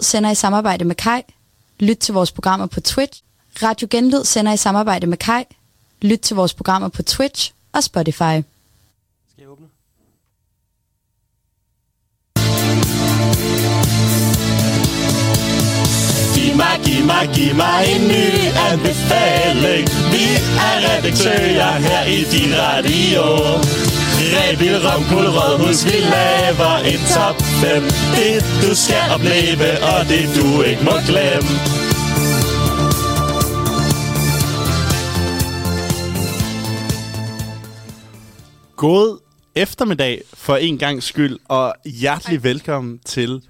sender i samarbejde med Kai. Lyt til vores programmer på Twitch. Radio Genlyd sender i samarbejde med Kai. Lyt til vores programmer på Twitch og Spotify. Skal jeg åbne? Giv mig, giv mig, giv mig en ny anbefaling. Vi er redaktører her i din radio. Rebil, rom, rødhus, vi laver et top 5. Det du skal opleve, og det du ikke må glemme. God eftermiddag for en gang skyld, og hjertelig velkommen til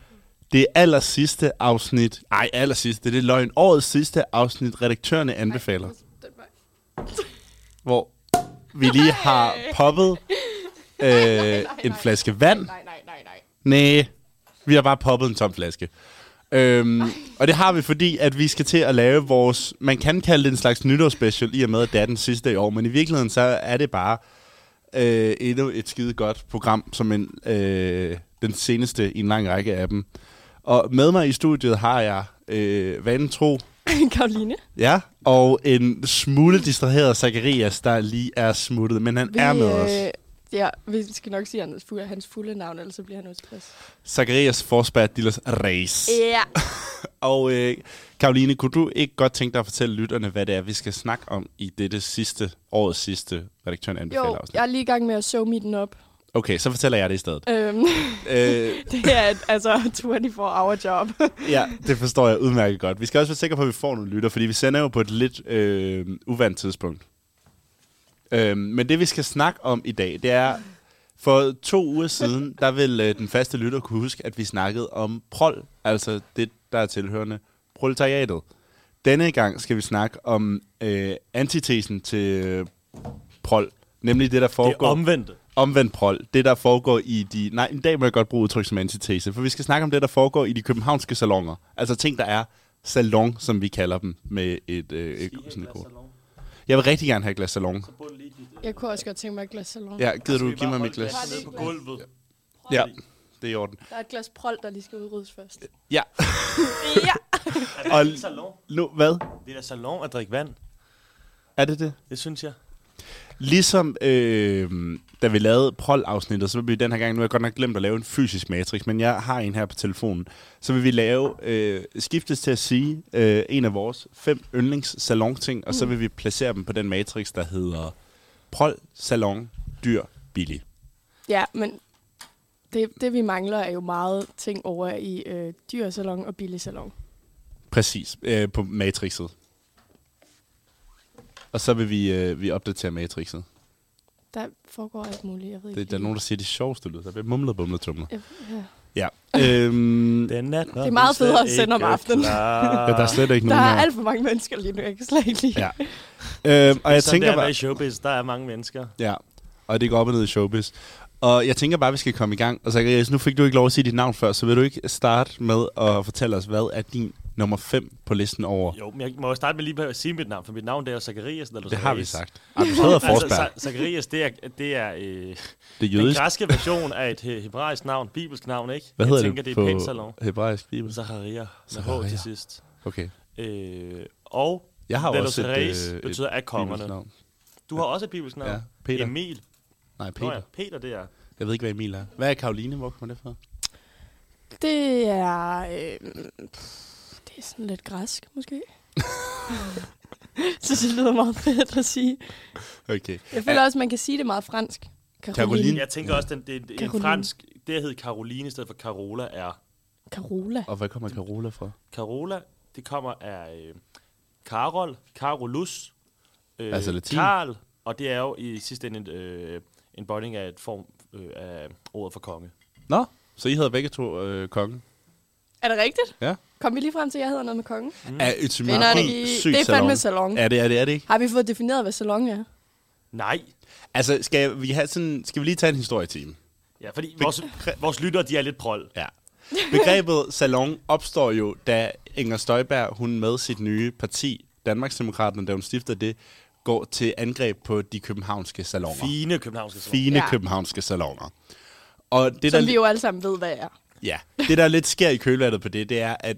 det aller sidste afsnit. Nej, aller sidste, det er løgn. Årets sidste afsnit, redaktørerne anbefaler. Hvor vi lige har poppet øh, en flaske vand. Nej, nej, nej, nej. Nej, vi har bare poppet en tom flaske. Øhm, og det har vi, fordi at vi skal til at lave vores... Man kan kalde det en slags nytårsspecial, i og med, at det er den sidste i år. Men i virkeligheden, så er det bare øh, endnu et skide godt program, som en, øh, den seneste i en lang række af dem. Og med mig i studiet har jeg øh, vanen tro, Karoline. ja, og en smule distraheret Zacharias, der lige er smuttet, men han er med os. øh, Ja, vi skal nok sige hans fulde, hans fulde navn, ellers så bliver han utilfreds. Zacharias Forsberg Dillers Race. Ja. Og øh, Karoline, kunne du ikke godt tænke dig at fortælle lytterne, hvad det er, vi skal snakke om i dette sidste, årets sidste redaktøren anbefaler Jo, afsnit? jeg er lige i gang med at show me den op. Okay, så fortæller jeg det i stedet. Øhm, øh, det er et, altså 24-hour job. ja, det forstår jeg udmærket godt. Vi skal også være sikre på, at vi får nogle lytter, fordi vi sender jo på et lidt øh, uvandt tidspunkt. Øh, men det, vi skal snakke om i dag, det er... For to uger siden, der vil øh, den faste lytter kunne huske, at vi snakkede om prol, altså det, der er tilhørende proletariatet. Denne gang skal vi snakke om øh, antitesen til øh, prol, nemlig det, der Det foregår er omvendt. omvendt prol, det der foregår i de... Nej, i dag må jeg godt bruge udtryk som antitese, for vi skal snakke om det, der foregår i de københavnske salonger. Altså ting, der er salon, som vi kalder dem med et... Øh, et, sådan et kort. Jeg vil rigtig gerne have et glas salon. Jeg kunne også godt tænke mig et glas salon. Ja, gider du give mig mit glas? glasset ned på på gulvet. Ja, det er i orden. Der er et glas prol, der lige skal udryddes først. Ja, ja. Og- Er det salon? nu, hvad? Det er da salon at drikke vand. Er det det? Det synes jeg. Ligesom øh, da vi lavede prol-afsnittet, så vil vi den her gang, nu har jeg godt nok glemt at lave en fysisk matrix, men jeg har en her på telefonen, så vil vi lave, øh, skiftes til at sige, øh, en af vores fem yndlings salonting, og så vil vi placere dem på den matrix, der hedder prol, salon, dyr, billig. ja, men det, det vi mangler er jo meget ting over i øh, dyresalon og billigsalon. Præcis, øh, på matrixet. Og så vil vi, øh, vi opdatere matrixet. Der foregår alt muligt, jeg ved ikke. Det, der er lige- nogen, der siger de sjoveste lyder. Der bliver mumlet, bumlet, tumlet. Jeg- Ja. Ja. Øhm, Den nat, det er meget federe at sende om aftenen. ja, der er slet ikke Der nogen er alt for mange mennesker lige nu, jeg kan slet ikke lide. Ja. Øhm, og jeg Sådan tænker der bare... i bare... showbiz, der er mange mennesker. Ja, og det går op og ned i showbiz. Og jeg tænker bare, at vi skal komme i gang. Og Zacharias, nu fik du ikke lov at sige dit navn før, så vil du ikke starte med at fortælle os, hvad er din nummer 5 på listen over? Jo, men jeg må jo starte med lige at sige mit navn, for mit navn det er jo Zacharias. Eller Det har vi Zacharias. sagt. Ej, du hedder Forsberg. Altså, Za- Zacharias, det er, det er øh, det er den jødisk. græske version af et he- hebraisk navn, bibelsk navn, ikke? Hvad hedder jeg tænker, det, det er Altså, pænt salon. på hebraisk bibel? Zacharia, med H Zachariah. til sidst. Okay. Øh, og Jeg har Velos også et, Reis øh, et betyder af bibelsk kongerne. navn. Du har også et bibelsk navn. Ja, Peter. Emil. Nej, Peter. Nå ja, Peter. Peter det er. Jeg ved ikke, hvad Emil er. Hvad er Karoline? Hvor kommer det fra? Det er... Øh, pff, det er sådan lidt græsk, måske. så det lyder meget fedt at sige. Okay. Jeg føler også, man kan sige det meget fransk. Caroline. Jeg tænker også, den, det, det, en Caroline. fransk, det hedder Caroline i stedet for Carola er. Carola. Og hvad kommer Carola fra? Carola, det kommer af øh, Karol, Carolus, øh, Altså latin. Karl, og det er jo i sidste ende en, øh, en bonding af et form øh, af ordet for konge. Nå, så I hedder begge to øh, kongen. Er det rigtigt? Ja. Kom vi lige frem til, at jeg hedder noget med kongen? Mm. Er et Vinderne meget i- sygt det er salon. fandme salon. Er det, er det, er det ikke? Har vi fået defineret, hvad salon er? Nej, Altså, skal vi, have sådan, skal vi lige tage en historietime? ja, fordi vores, vores lyttere, de er lidt prol. Ja. Begrebet salon opstår jo, da Inger Støjberg, hun med sit nye parti, Danmarksdemokraterne, da hun stifter det, går til angreb på de københavnske salonger. Fine københavnske salon. Fine ja. Ja. københavnske salonger. Og det, Som der, vi jo alle sammen ved, hvad er. Ja, det der lidt sker i kølvandet på det, det er, at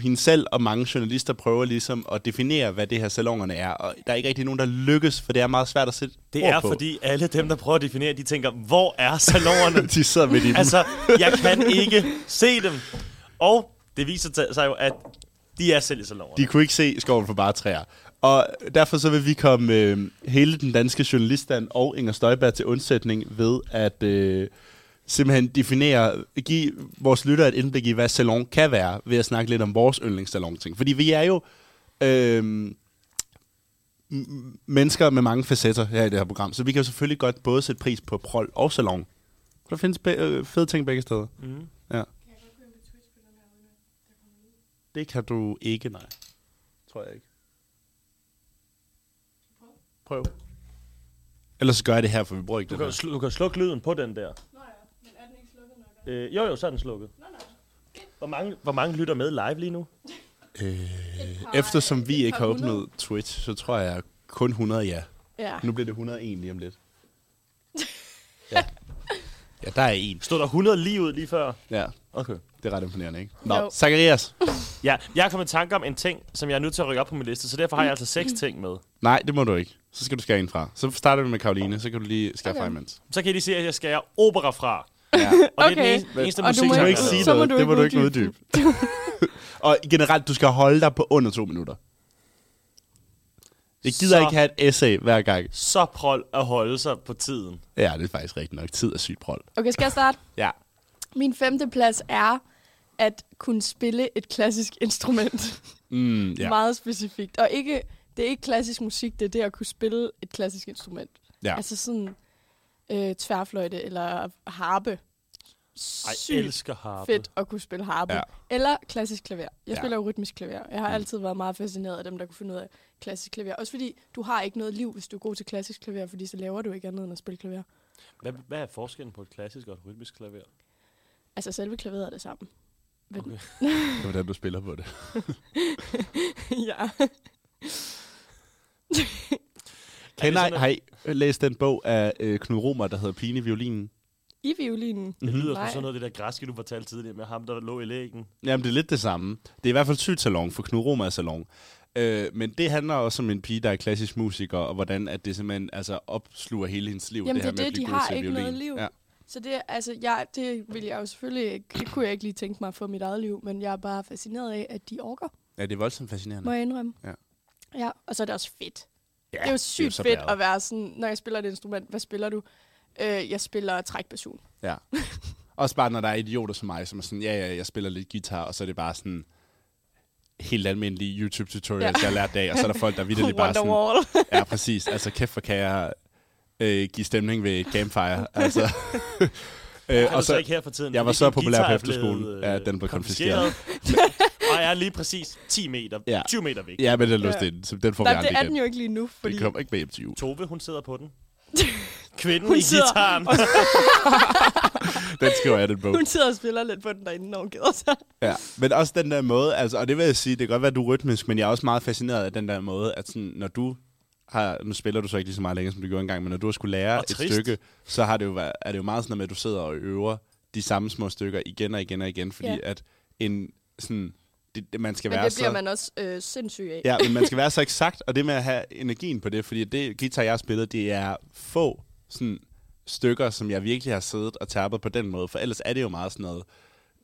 hende selv og mange journalister prøver ligesom at definere, hvad det her salongerne er. Og der er ikke rigtig nogen, der lykkes, for det er meget svært at sætte Det ord er, på. fordi alle dem, der prøver at definere, de tænker, hvor er salonerne? de sidder midt i den. altså, jeg kan ikke se dem. Og det viser t- sig jo, at de er selv i salonerne. De kunne ikke se skoven for bare træer. Og derfor så vil vi komme øh, hele den danske journaliststand og Inger Støjberg til undsætning ved at øh, simpelthen definere, give vores lyttere et indblik i, hvad salon kan være, ved at snakke lidt om vores yndlingssalon-ting. Fordi vi er jo øh, m- mennesker med mange facetter her i det her program, så vi kan jo selvfølgelig godt både sætte pris på prol og salon. For Der findes be- øh, fede ting begge steder. Mm. Ja. Det kan du ikke, nej. Tror jeg ikke. Prøv. Ellers så gør jeg det her, for vi bruger ikke Du det kan, jo her. slu- du kan slukke lyden på den der. Øh, jo, jo, så er den slukket. Hvor mange, hvor mange lytter med live lige nu? Eftersom vi ikke har åbnet Twitch, så tror jeg kun 100 ja. Ja. Nu bliver det 101 lige om lidt. Ja. Ja, der er en. Stod der 100 lige ud lige før? Ja, Okay. det er ret imponerende, ikke? Nå, Jo. Zacharias. Ja, jeg er kommet i tanke om en ting, som jeg er nødt til at rykke op på min liste, så derfor har jeg altså Mm. seks ting med. Nej, det må du ikke. Så skal du skære en fra. Så starter vi med Karoline, så kan du lige skære okay. fra imens. Så kan I lige se, at jeg skærer opera fra. Ja. Og det er Okay. den eneste, eneste Og du musik, må Du jeg må har ikke lavet. sige Så må noget. du det må ikke du ikke uddybe. uddybe. og generelt, du skal holde dig på under to minutter. Jeg gider Så- ikke have et essay hver gang. Så prol at holde sig på tiden. Ja, det er faktisk rigtigt nok. Tid er sygt prol. Okay, skal jeg starte? Ja. Min femte plads er at kunne spille et klassisk instrument. Mm, Ja. ja. Meget specifikt. Og ikke, det er ikke klassisk musik, det er det at kunne spille et klassisk instrument. ja. Altså sådan øh, tværfløjte eller harpe. Ej, Sygt elsker harpe. fedt at kunne spille harpe. Ja. Ja. Eller klassisk klaver. Jeg Ja. Mm. spiller jo rytmisk klaver. Jeg har altid været meget fascineret af dem, der kunne finde ud af klassisk klaver. Også fordi du har ikke noget liv, hvis du er god til klassisk klaver, fordi så laver du ikke andet end at spille klaver. Hvad, hvad er forskellen på et klassisk og et rytmisk klaver? Altså selve klaveret er det samme. Men- Okay. Det er, hvordan du spiller på det. ja. Kender, sådan, at- har I læst den bog af øh, Knud Romer, der hedder Pine i Violinen? I violinen. Det lyder som Mhm. Nej. sådan noget af det der græske, du fortalte tidligere med ham, der lå i lægen. Jamen, det er lidt det samme. Det er i hvert fald sygt salon, for Knud Romer er salon. Øh, men det handler også om en pige, der er klassisk musiker, og hvordan at det simpelthen altså, opsluger hele hendes liv. Jamen, det, her det med at er det, blive de god har til ikke violin. noget liv. Ja. Så det, altså, jeg, det vil jeg jo selvfølgelig ikke, det kunne jeg ikke lige tænke mig for mit eget liv, men jeg er bare fascineret af, at de orker, ja, det er voldsomt må fascinerende. jeg indrømme. Ja. ja og så er det også fedt. Ja, Ja, det er jo sygt så fedt blæret. at være sådan, når jeg spiller et instrument, hvad spiller du? Øh, jeg spiller trækbasson. Ja. Også bare, når der er idioter som mig, som er sådan, ja, ja, jeg spiller lidt guitar, og så er det bare sådan helt almindelige YouTube-tutorials, ja. Ja. jeg har lært af, og så er der folk, der vidderligt bare sådan, Wonderwall. ja, præcis, altså kæft, hvor kan jeg øh, give stemning ved et campfire, altså. øh, Er og du så så, ikke her for tiden? jeg var fordi så din populær på guitar er efterskolen, blevet, at øh, den blev konfiskeret. og jeg er lige præcis 10 meter, Ja. ja. 20 meter væk. ja, men den lå Ja. stille, så den får vi Nej, aldrig det er den igen. jo ikke lige nu, fordi Det kommer ikke med hjem til jul. Tove, hun sidder på den. Kvinden Hun i sidder gitaren. Den skriver jeg den bog. hun sidder og spiller lidt på den derinde, når hun gider sig. Ja, men også den der måde, altså, og det vil jeg sige, det kan godt være, at du er rytmisk, men jeg er også meget fascineret af den der måde, at sådan, når du har, nu spiller du så ikke lige så meget længere, som du gjorde engang, men når du har skulle lære Og et trist. stykke, så har det jo været, er det jo meget sådan noget med, at du sidder og øver de samme små stykker igen og igen og igen, fordi Ja. at en, sådan, det, det, man skal Men være det bliver så... man også øh, sindssyg af. Ja, men man skal være så eksakt, og det med at have energien på det, fordi det guitar, jeg har spillet, det er få sådan, stykker, som jeg virkelig har siddet og tappet på den måde, for ellers er det jo meget sådan noget...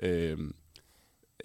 Øh,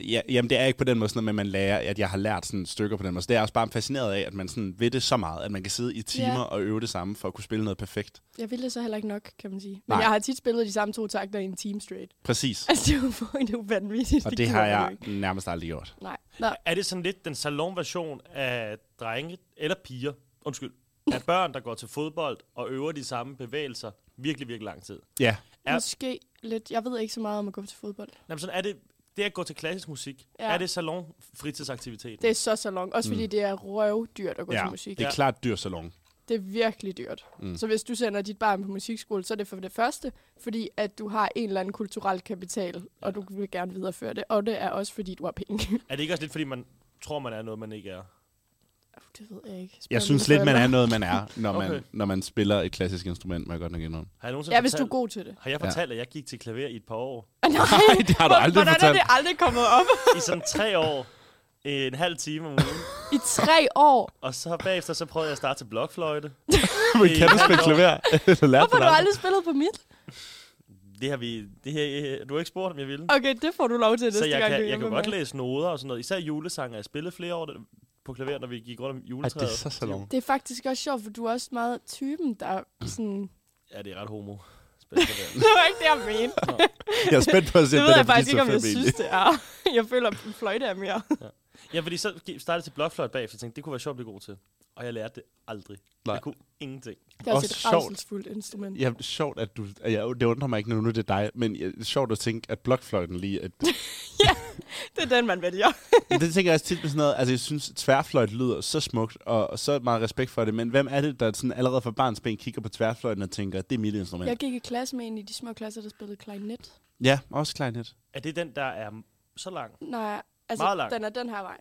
ja, jamen, det er ikke på den måde sådan noget, med, at man lærer, at jeg har lært sådan stykker på den måde. Så det er jeg også bare fascineret af, at man sådan ved det så meget, at man kan sidde i timer Ja. og øve det samme for at kunne spille noget perfekt. Jeg ville det så heller ikke nok, kan man sige. Men Nej. jeg har tit spillet de samme to takter i en time straight. Præcis. Altså, det er jo, det er jo vanvittigt. Og det, gider har man jo jeg ikke. nærmest aldrig gjort. Nej. Nå, er det sådan lidt den salonversion af drenge, eller piger, undskyld, af børn, der går til fodbold og øver de samme bevægelser virkelig, virkelig lang tid? Ja. Ja. måske lidt. Jeg ved ikke så meget om at gå til fodbold. Jamen sådan, er det, det at gå til klassisk musik, Ja. ja. er det salon fritidsaktivitet? Det er så salon. Også fordi mm. det er røvdyrt at gå ja. til ja. musik. Det er klart dyr salon. Det er virkelig dyrt. Mm. Så hvis du sender dit barn på musikskole, så er det for det første, fordi at du har en eller anden kulturel kapital, og du vil gerne videreføre det. Og det er også fordi, du har penge. Er det ikke også lidt, fordi man tror, man er noget, man ikke er? Det ved jeg ikke. Spørg Jeg mine synes lidt, man forældre. er noget, man er, når man, Okay. okay. når man spiller et klassisk instrument, må jeg godt nok indrømme. Har jeg nogensinde Ja, hvis du fortalt, er god til det. Har jeg Ja. fortalt, at jeg gik til klaver i et par år? Ah, Nej, Nej, det har du aldrig Hvordan er fortalt. det aldrig kommet op? I sådan tre år, en halv time om ugen. I tre år. Og så bagefter, så prøvede jeg at starte til blokfløjte. Men kan du spille klaver? Eller lærte Hvorfor du har du det aldrig spillet på mit? Det har vi... Det her, du har ikke spurgt, om jeg ville. Okay, det får du lov til næste Så jeg gang, kan, du er jeg hjemme kan med godt mig. læse noder og sådan noget. Især julesange. Jeg spillede flere år på klaver, når vi gik rundt om Ej, juletræet. det er så salon. Det er faktisk også sjovt, for du er også meget typen, der sådan... Ja, det er ret homo. Spille klaver. Det var ikke det, jeg mente. Jeg er spændt på at se, Det om ved Altså, er jeg faktisk fordi, ikke, om så jeg fem synes, det er. Jeg føler, at fløjte er mere. Ja, fordi så gik- startede jeg til blokfløjt bagefter, og tænkte, det kunne være sjovt at blive god til. Og jeg lærte det aldrig. Nej. Jeg kunne ingenting. Det er også, Også et sjovt. rædselsfuldt instrument. Ja, sjovt, at du... at Jeg, det undrer mig ikke, når nu det er dig, men ja, sjovt at tænke, at blokfløjten lige... At, Det er den, man vælger. Men det tænker jeg også tit med sådan noget. Altså, jeg synes, tværfløjt lyder så smukt, og, og så meget respekt for det. Men hvem er det, der sådan allerede fra barns ben kigger på tværfløjten og tænker, det er mit instrument? Jeg gik i klasse med en i de små klasser, der spillede klarinet. Ja, også klarinet. Er det den, der er m- så lang? Nej, altså, Meget langt. den er den her vej.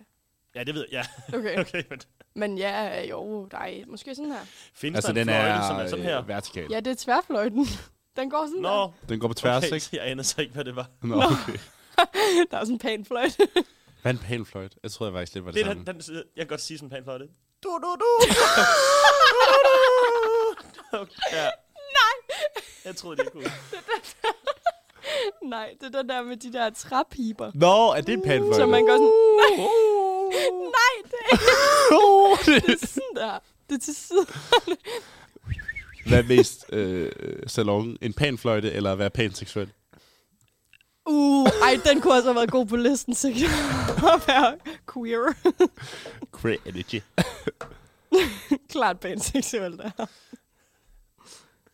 Ja, det ved jeg. Okay. Ja, okay, men Men ja, jo, nej, måske sådan her. findes Altså, der en den fløjte, er, som er sådan øh, her? vertikal. Ja, det er tværfløjten. Den går sådan Nå, der. Den går på tværs, okay, ikke? jeg aner så ikke, hvad det var. Nå, okay. Der er sådan en pæn fløjte. Hvad er en pælfløjt? Jeg troede jeg faktisk lidt var Det det, er samme. den, den, jeg kan godt sige sådan en plan for det. Du, du, du. Okay, ja. Nej. Jeg troede, det ikke kunne. Nej, det er den der med de der træpiber. Nå, er det en Uh, pælfløjt? Så man går sådan... Nej, nej det er ikke det er sådan der. Det er til side. Hvad er mest øh, salon? En panfløjte eller at være panseksuel? Uh, ej, den kunne også have været god på listen, sikkert. At være queer. Great energy. Klart panseksuel, der.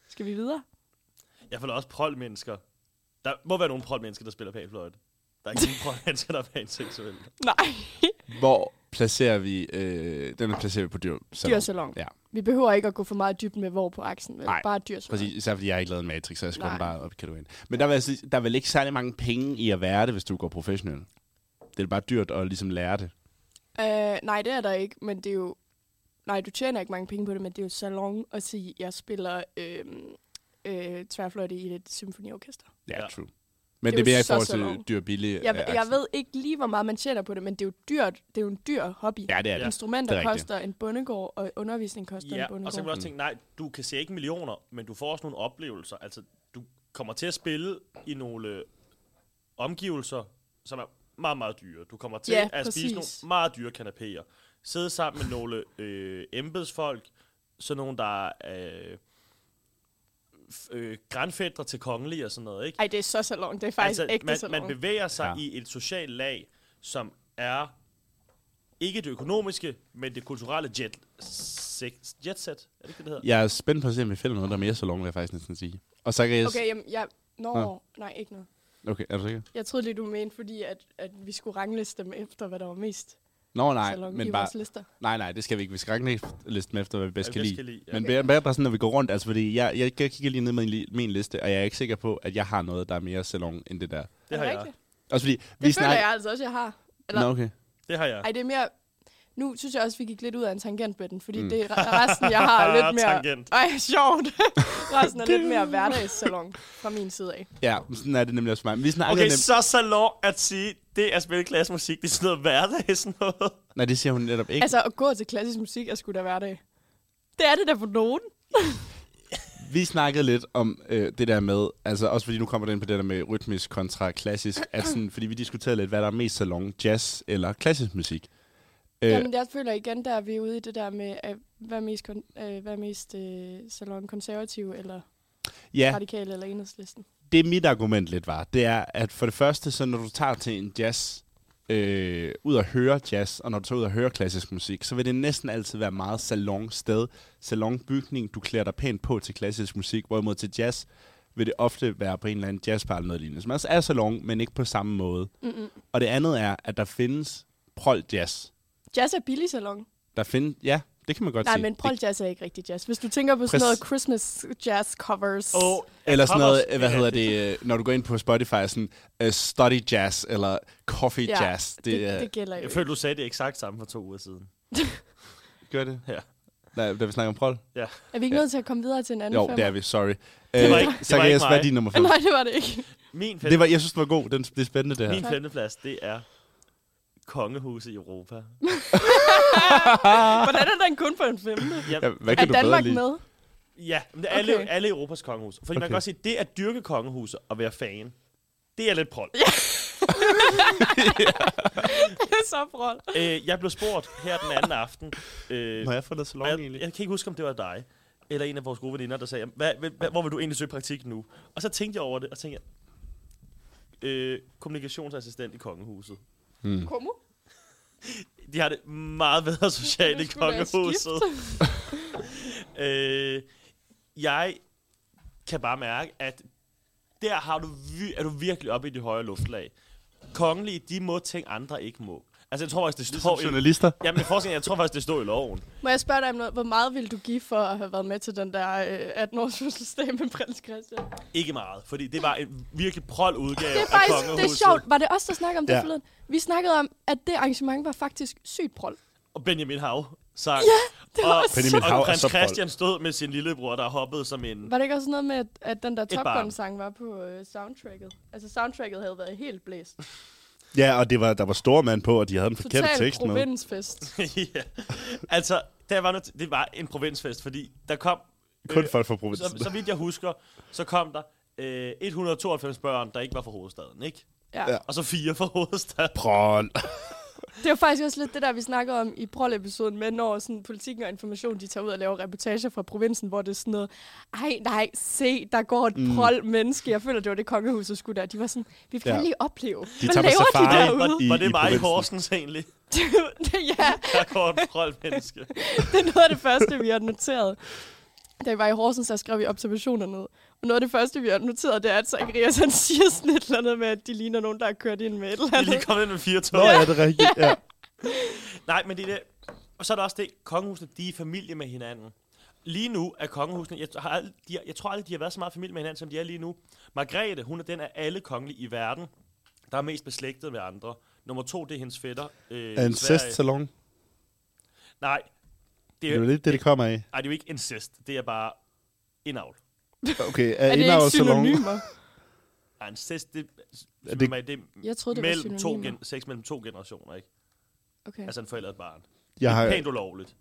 Skal vi videre? Jeg føler også prolmennesker. Der må være nogle prolmennesker, der spiller panfløjte. Der er ikke nogen prolmennesker, der er panseksuelle. Nej. Hvor placerer vi... Øh, den placerer vi på dyr, salon. Dyrsalon. Ja, Vi behøver ikke at gå for meget i dybden med hvor på aksen, vel? Nej, Bare dyrsalon. præcis. Især fordi jeg har ikke lavet en matrix, så jeg skrev Nej. den bare op i kategorien. Men der, vil jeg sige, der er vel ikke særlig mange penge i at være det, hvis du går professionel. Det er bare dyrt at ligesom lære det. Øh, nej, det er der ikke, men det er jo... Nej, du tjener ikke mange penge på det, men det er jo salon at sige, at jeg spiller øh, øh, tværfløjte i et symfoniorkester. Ja, Ja. ja. true. Men Det er det, det er jo mere i så forhold salon. til dyr og billig. Jeg, øh, jeg aktie. ved ikke lige, hvor meget man tjener på det, men det er jo dyrt. Det er jo en dyr hobby. Ja, det er det. Instrumenter Det er rigtigt. koster en bondegård, og undervisning koster Ja, en bondegård. og så kan man også tænke, nej, du kan se ikke millioner, men du får også nogle oplevelser. Altså, du kommer til at spille i nogle øh, omgivelser, som er meget, meget dyre. Du kommer til Ja, at spise nogle præcis. meget dyre kanapéer. Sidde sammen med nogle øh, embedsfolk, sådan nogle, der er øh, f- øh, grandfædre til kongelige og sådan noget, ikke? Ej, det er så salon. Det er faktisk altså, ægte man, salon. man bevæger sig ja. Ja. i et socialt lag, som er ikke det økonomiske, men det kulturelle jet, sek- jet set. Er det ikke det, det hedder? Jeg er spændt på at se, om vi finder noget, der er mere salon, vil jeg faktisk næsten sige. Og så kan jeg... Okay, jamen, jeg... Nå, Nå. nej, ikke noget. okay, er du sikker? Jeg troede lige, du mente, fordi at, at vi skulle rangliste dem efter, hvad der var mest Nå, nej, salon i men vores bare... lister. Nej, nej, det skal vi ikke. Vi skal rangliste dem efter, hvad vi bedst Hvad kan vi lide. bedst kan lide, ja. Men bare, bare sådan, når vi går rundt, altså fordi jeg, jeg, jeg kigger lige ned med min, min liste, og jeg er ikke sikker på, at jeg har noget, der er mere salon end det der. Er Det har jeg. rigtigt? Også fordi, Det vi føler snakker... jeg altså også, jeg har. Eller, Nå, okay. Det har jeg. Ej, det er mere... Nu synes jeg også, vi gik lidt ud af en tangent med den, fordi mm. det er re- resten, jeg har er lidt mere... Tangent. Ej, sjovt. resten er lidt mere hverdagssalon fra min side af. Ja, men sådan er det nemlig også for mig. Men vi snakker Okay, okay, nem... så salon at sige, det er spilleklassemusik, det er sådan noget hverdag, sådan noget. Nej, det siger hun netop ikke. Altså... Altså, at gå til klassisk musik er sgu da hverdag. Det er det da for nogen. Vi snakkede lidt om øh, det der med, altså også fordi nu kommer det ind på det der med rytmisk kontra klassisk, at sådan, fordi vi diskuterede lidt, hvad der er mest salon, jazz eller klassisk musik. Øh, Øh. Jamen, jeg føler igen, der er vi ude i det der med, at hvad er mest, kon- øh, hvad er mest øh, salon konservativ eller ja. ja, radikal eller enhedslisten. det mit argument lidt var, det er, at for det første, så når du tager til en jazz, øh, ud at høre jazz, og når du tager ud og hører klassisk musik, så vil det næsten altid være meget salonsted, salonbygning, du klæder dig pænt på til klassisk musik, hvorimod til jazz vil det ofte være på en eller anden jazzbar eller noget lignende, som altså er salon, men ikke på samme måde. Mm-mm. Og det andet er, at der findes prol jazz. Jazz er billig salon. Der findes, ja, det kan man godt Nej, sige. men Det- prol jazz er ikke rigtig jazz. Hvis du tænker på sådan Præcis. noget Christmas jazz covers. Åh, jeg Eller sådan kommer noget, også- hvad Ja, hedder det, øh, når du går ind på Spotify, sådan uh, study jazz eller coffee jazz. det, er- det, gælder jo Jeg ikke. følte, du sagde det eksakt samme for to uger siden. gør det? Ja. Nej, da vi snakker om prol? Er vi ikke Ja. nødt til at komme videre til en anden Jo, det er femmer? vi, sorry. Det var Øh, ikke- det var ikke Zacharias, hvad er mig. din nummer 5? Nej, det var det ikke. Min, Det femte, var, jeg synes, den var god. Den, det er spændende, det her. min femteplads, det er kongehuset i Europa. Hvordan er den kun på en femte? Ja, Ja, hvad Er kan du bedre Danmark lide? med? ja men det er alle, Okay. okay. alle Europas kongehus. Fordi okay. man Okay. kan også sige, det at dyrke kongehuset og være fan, det er lidt prol. Ja. Det er så prol. Øh, jeg blev spurgt her den anden aften. Øh, Må jeg få noget salon og jeg, egentlig? jeg kan ikke huske, om det var dig eller en af vores gode veninder, der sagde, hvad, hvad, hvad, hvor vil du egentlig søge praktik nu? Og så tænkte jeg over det, og tænkte jeg, øh, kommunikationsassistent i kongehuset. Mm. Komo? De har det meget bedre socialt i Det skulle være kongehuset. øh, jeg kan bare mærke, at der har du vi- er du virkelig oppe i de højere luftlag. Kongelige, de må ting, andre ikke må. Altså, jeg tror faktisk, det Ligesom står i... journalister. Jamen, jeg, forsker, jeg tror faktisk, det står i loven. Må jeg spørge dig om noget? Hvor meget ville du give for at have været med til den der øh, 18-års fødselsdag med prins Christian? Ikke meget, fordi det var en virkelig prol udgave Det er faktisk af det er kongehuset. sjovt. Var det os, der snakkede om det Ja. ja. forleden? Vi snakkede om, at det arrangement var faktisk sygt prol. Og Benjamin Hav sang. Ja, det var og, så- Benjamin Hav er og prins så prol. Christian stod med sin lillebror, der hoppede som en... Var det ikke også noget med, at, at den der Top barn. Gun-sang var på øh, soundtracket? Altså, soundtracket havde været helt blæst. Ja, og det var, der var store mand på, og de havde den forkerte Total tekst med. provinsfest. ja. Altså, der var noget, det var en provinsfest, fordi der kom... Kun folk fra provinsen. så, så vidt jeg husker, så kom der øh, 192 børn, der ikke var fra hovedstaden, ikke? Ja. ja. Og så fire fra hovedstaden. Prol. Det var faktisk også lidt det der, vi snakkede om i prol-episoden med, når sådan, politikken og information, de tager ud og laver reportager fra provinsen, hvor det er sådan noget, ej, nej, se, der går et mm. prol-menneske. Jeg føler, det var det kongehuset skulle der. De var sådan, vi vil Ja. gerne lige opleve. De Hvad tager på laver de safari. derude? Var, I- var i det mig i provinsen. Horsens egentlig? ja, Der går en prold menneske. det er noget af det første, vi har noteret. Da vi var i Horsens, der skrev vi observationer ned. Og noget af det første, vi har noteret, det er, at Zacharias han siger sådan et eller andet med, at de ligner nogen, der har kørt ind med et eller Vi er lige andet. kommet ind med fire Nå, tog. ja, det er rigtigt. Ja. Nej, men det er det. Og så er der også det, kongehusene, de er i familie med hinanden. Lige nu er kongehusene, jeg, har, ald- de, har- jeg tror aldrig, de har været så meget i familie med hinanden, som de er lige nu. Margrethe, hun er den af alle kongelige i verden, der er mest beslægtet med andre. Nummer to, det er hendes fætter. Øh, i Sverige. Incest-salon. Nej, det Det er, er jo det lidt det, det kommer af. er jo ikke incest. Det er bare indavl. Okay, er, Er det ikke synonymer? Nej, incest, det, Er er det- det, det, er Jeg troede, det var mellem to synonymer. gen, sex mellem to generationer, ikke? Okay. Altså en forælder og et barn. Jeg har... Har... Pænt ulovligt.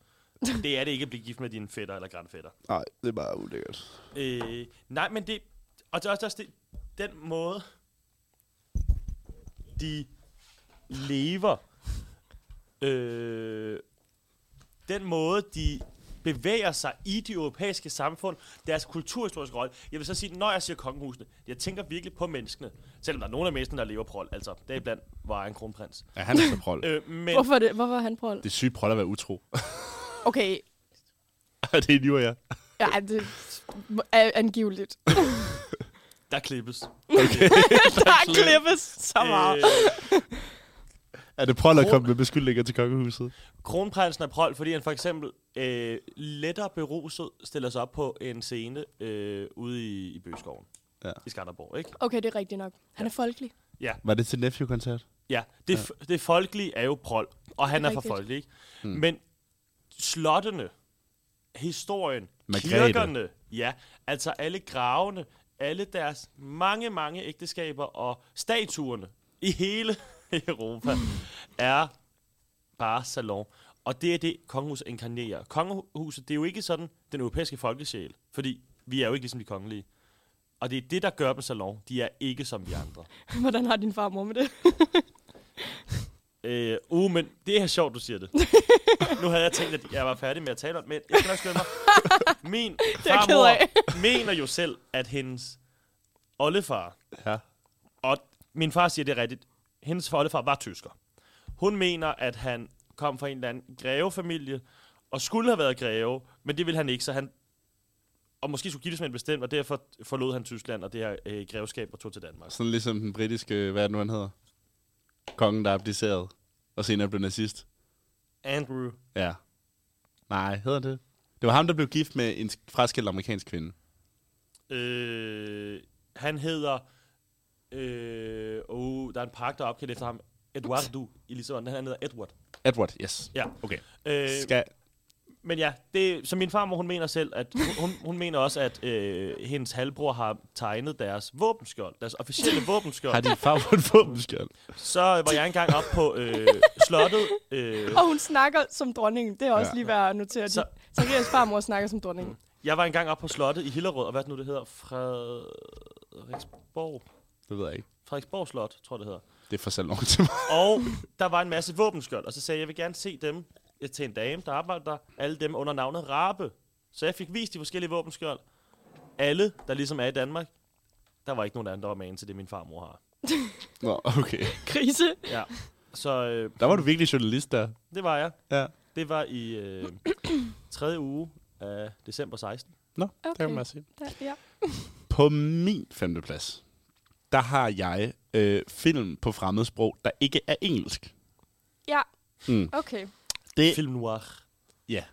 det er det ikke at blive gift med dine fætter eller grandfætter. Nej, det er bare ulækkert. Øh, nej, men det... Og det er også, også det, den måde, de lever. Øh, den måde, de bevæger sig i de europæiske samfund, deres kulturhistoriske rolle. Jeg vil så sige, når jeg siger kongehusene, jeg tænker virkelig på menneskene. Selvom der er nogle af menneskene, der lever prol, altså det er blandt var en kronprins. Ja, han er så prol. Øh, men Hvorfor, er det, hvorfor er han prol? det er sygt prol at være utro. Okay, det er nu, ja. ja, det er angiveligt. der klippes. Der klippes så meget. Øh, Er det prol at komme med beskyldninger til kongehuset? Kronprinsen er prol, fordi han for eksempel øh, lettere beruset stiller sig op på en scene øh, ude i, i Bøgeskoven. Ja. Ja. I Skanderborg, ikke? Okay, det er rigtigt nok. Han er folkelig. Var det til Nephew-koncert? Ja, det, ja. det folkelige er jo prol, og han Det er er for rigtigt. Hmm. folkelig, ikke? Mm. Men slottene, historien, Margrethe. kirkerne, ja, altså alle gravene, alle deres mange, mange ægteskaber og statuerne i hele Europa er bare salon. Og det er det, kongehuset inkarnerer. Kongehuset, det er jo ikke sådan den europæiske folkesjæl, fordi vi er jo ikke ligesom de kongelige. Og det er det, der gør dem salon. De er ikke som de andre. Hvordan har din far og mor med det? Øh, uh, men det er sjovt, du siger det. nu havde jeg tænkt, at jeg var færdig med at tale om det, men jeg skal nok skynde mig. Min er jeg ked af. farmor mener jo selv, at hendes oldefar, Ja. og min far siger det rigtigt, hendes oldefar var tysker. Hun mener, at han kom fra en eller anden grevefamilie, og skulle have været greve, men det ville han ikke, så han og måske skulle giftes med en bestemt, og derfor forlod han Tyskland og det her øh, grevskab og tog til Danmark. Sådan ligesom den britiske, hvad er det nu, han hedder? Kongen, der abdicerede. Og senere blev nazist. Andrew. Ja. Nej, hedder det? Det var ham, der blev gift med en fraskilt amerikansk kvinde. Øh, han hedder... Øh, oh, der er en park, der er opkaldt efter ham. Eduardo i Lissabon. Han hedder Edward. Edward, yes. Ja. Okay. Øh, Skal... Men ja, det, så min farmor, hun mener selv, at hun- hun, hun mener også, at øh, hendes halvbror har tegnet deres våbenskjold, deres officielle våbenskjold. Har din far på et våbenskjold? Så var jeg engang op på øh, slottet. Øh, Og hun snakker som dronningen. Det er også Ja. ja. lige værd at notere. Så- Mm. Så... Zacharias farmor snakker som dronningen. jeg var engang op på slottet i Hillerød, og hvad er det nu, det hedder? Frederiksborg. Det ved jeg ikke. Frederiksborg Slot, tror jeg, det hedder. Det er for salon til mig. Og der var en masse våbenskjold, og så sagde jeg, jeg vil gerne se dem jeg, til en dame, der arbejder der. Alle dem under navnet Rabe. Så jeg fik vist de forskellige våbenskjold. Alle, der ligesom er i Danmark, der var ikke nogen andre, der var magen til det, min farmor har. Nå, okay. Krise. Ja. Så øh, Der var du virkelig journalist der. det var jeg. Ja. Det var i øh, tredje uge af december 16. Nå, okay. der Okay. kan man se. Der, ja. På min femteplads, der har jeg øh, film på fremmedsprog, der ikke er engelsk. ja. Mm. Okay. Det, Film noir. ja.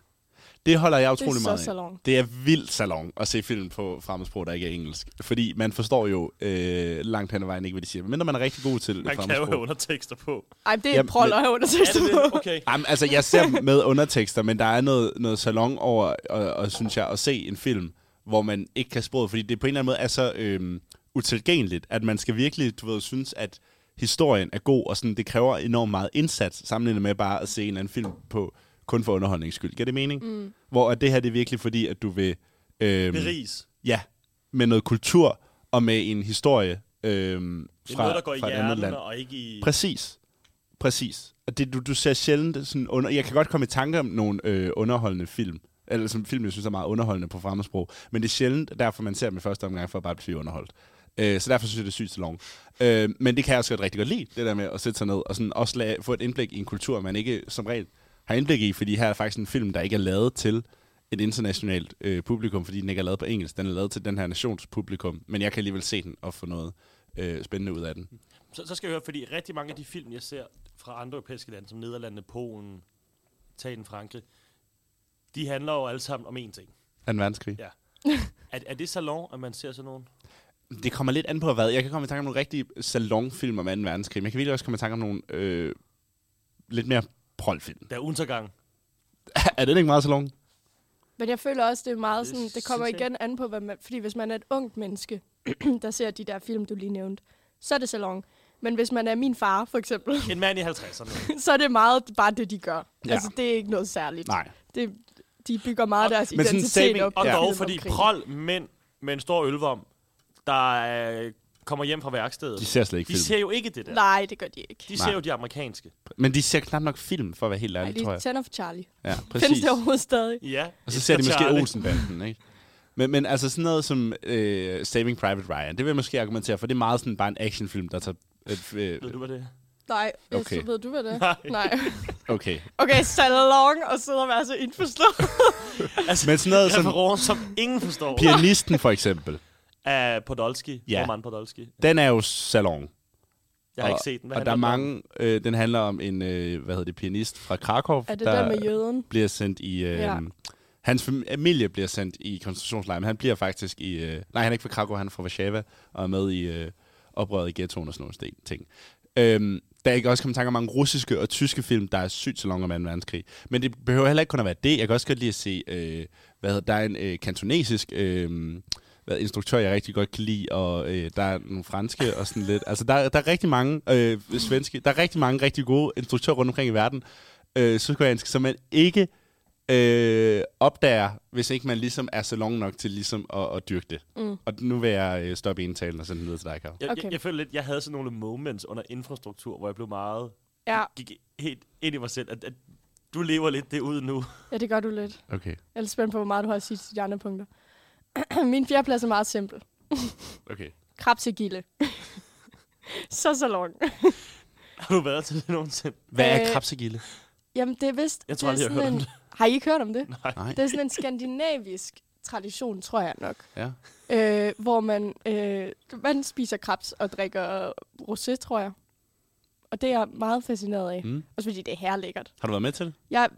det holder jeg utrolig så meget af. salon. Det er vildt salon at se film på fremmedsprog, der ikke er engelsk. Fordi man forstår jo øh, langt hen ad vejen ikke, hvad de siger. Men når man er rigtig god til Man kan jo have fremmedsprog. undertekster på. Ej, det er Jamen, Jamen, prol men- at have Er undertekster det på. det? Okay. Jamen, altså, jeg ser dem med undertekster, men der er noget, noget salon over, og, og, synes jeg, at se en film, hvor man ikke kan sproget, fordi det på en eller anden måde er så øhm, utilgængeligt, at man skal virkelig, du ved, synes, at historien er god, og sådan, det kræver enormt meget indsats, sammenlignet med bare at se en eller anden film på, kun for underholdnings skyld. Giver det mening? Mm. Hvor at det her, det er virkelig fordi, at du vil... Øhm, Beris. Ja, med noget kultur og med en historie øhm, Det er fra, noget, der går i fra et andet hjernen land. og ikke i... Præcis. Præcis. Og det, du, du ser sjældent sådan under... Jeg kan godt komme i tanke om nogle øh, underholdende film, eller som film, jeg synes er meget underholdende på fremmedsprog, men det er sjældent, derfor man ser dem i første omgang, for at bare blive underholdt. Øh, så derfor synes jeg, det er sygt så langt. Øh, men det kan jeg også godt rigtig godt lide, det der med at sætte sig ned og sådan også lade, få et indblik i en kultur, man ikke som regel har indblik i, fordi her er faktisk en film, der ikke er lavet til et internationalt øh, publikum, fordi den ikke er lavet på engelsk. Den er lavet til den her nations publikum, men jeg kan alligevel se den og få noget øh, spændende ud af den. Så, så skal jeg høre, fordi rigtig mange af de film, jeg ser fra andre europæiske lande, som Nederlandene, Polen, Italien, Frankrig, de handler jo alle sammen om én ting. Anden verdenskrig. Ja. Er, er det salon, at man ser sådan nogen? Det kommer lidt an på hvad. Jeg kan komme i tanke om nogle rigtige salonfilm om 2. verdenskrig, men jeg kan virkelig også komme i tanke om nogle øh, lidt mere prolfilm. Der er undergang. er det ikke meget salon? Men jeg føler også, det er meget sådan, Det det kommer synes jeg igen an på, hvad man, fordi hvis man er et ungt menneske, der ser de der film, du lige nævnte, så er det salon. Men hvis man er min far, for eksempel, En mand i 50'erne. så er det meget bare det, de gør. Ja. Ja. Altså, det er ikke noget særligt. Nej. Det, de bygger meget deres men sådan identitet saving- op. i Og Ja. filmen dog, fordi omkring. prol mænd med en stor ølvom, der øh, kommer hjem fra værkstedet, De ser slet ikke de film. ser jo ikke det der. Nej, det gør de ikke. De Nej. ser jo de amerikanske. Men de ser knap nok film, for at være helt Ej, ærlig, tror de jeg. tænder for Charlie. Ja, Findes præcis. det overhovedet stadig? Ja. Og så ser de elsker måske Charlie. Olsenbanden, ikke? Men, men altså sådan noget som øh, Saving Private Ryan, det vil jeg måske argumentere for. Det er meget sådan bare en actionfilm, der tager... Øh, Ved du, øh, hvad det er? Nej, jeg Okay. ved du, hvad det er? Nej. Nej. okay. Okay, salon og sidde og være så indforstået. Altså, Men sådan noget som referencer, som ingen forstår. Pianisten for eksempel, Af Podolski. Ja. Ja. Roman Podolski. den er jo salon. Jeg og, har ikke set den. Hvad og der er handler den om? mange... Øh, den handler om en, øh, hvad hedder det, pianist fra Krakow, Er det der, med jøden? bliver sendt i... Øh, ja. Ja. Hans familie bliver sendt i koncentrationslejr, men han bliver faktisk i... Øh, nej, han er ikke fra Krakow, han er fra Warszawa, og er med i øh, oprøret i ghettoen og sådan nogle sten- ting. Øhm, der er ikke også kommet tanker om mange russiske og tyske film, der er sygt så langt om 2. verdenskrig. Men det behøver heller ikke kun at være det. Jeg kan også godt lide at se, øh, hvad hedder, der er en øh, kantonesisk øh, hvad, instruktør, jeg rigtig godt kan lide, og øh, der er nogle franske og sådan lidt. Altså, der, der er rigtig mange øh, svenske, der er rigtig mange rigtig gode instruktører rundt omkring i verden, øh, sydkoreanske, som man ikke øh, opdager, hvis ikke man ligesom er så long nok til ligesom at, at dyrke det. Mm. Og nu vil jeg øh, stoppe indtalen og sende den videre til dig, Karl. Jeg, okay. Okay. jeg, jeg føler lidt, jeg havde sådan nogle moments under infrastruktur, hvor jeg blev meget, Ja. gik helt ind i mig selv, at, at du lever lidt det ud nu. ja, det gør du lidt. Okay. Jeg er lidt spændt på, hvor meget du har at sige til de andre punkter. Min fjerdeplads er meget simpel. okay. Krabsegilde. så salon. Har du været til det nogensinde? Hvad er Øh, krabsegilde? Jamen, det er vist... Jeg tror det er aldrig, jeg har sådan hørt om en... Har I ikke hørt om det? Nej. Det er sådan en skandinavisk tradition, tror jeg nok. Ja. Øh, hvor man, øh, man spiser krebs og drikker rosé, tror jeg. Og det er jeg meget fascineret af. Mm. Mm. Også fordi det er herlækkert. Har du været med til det? Jeg,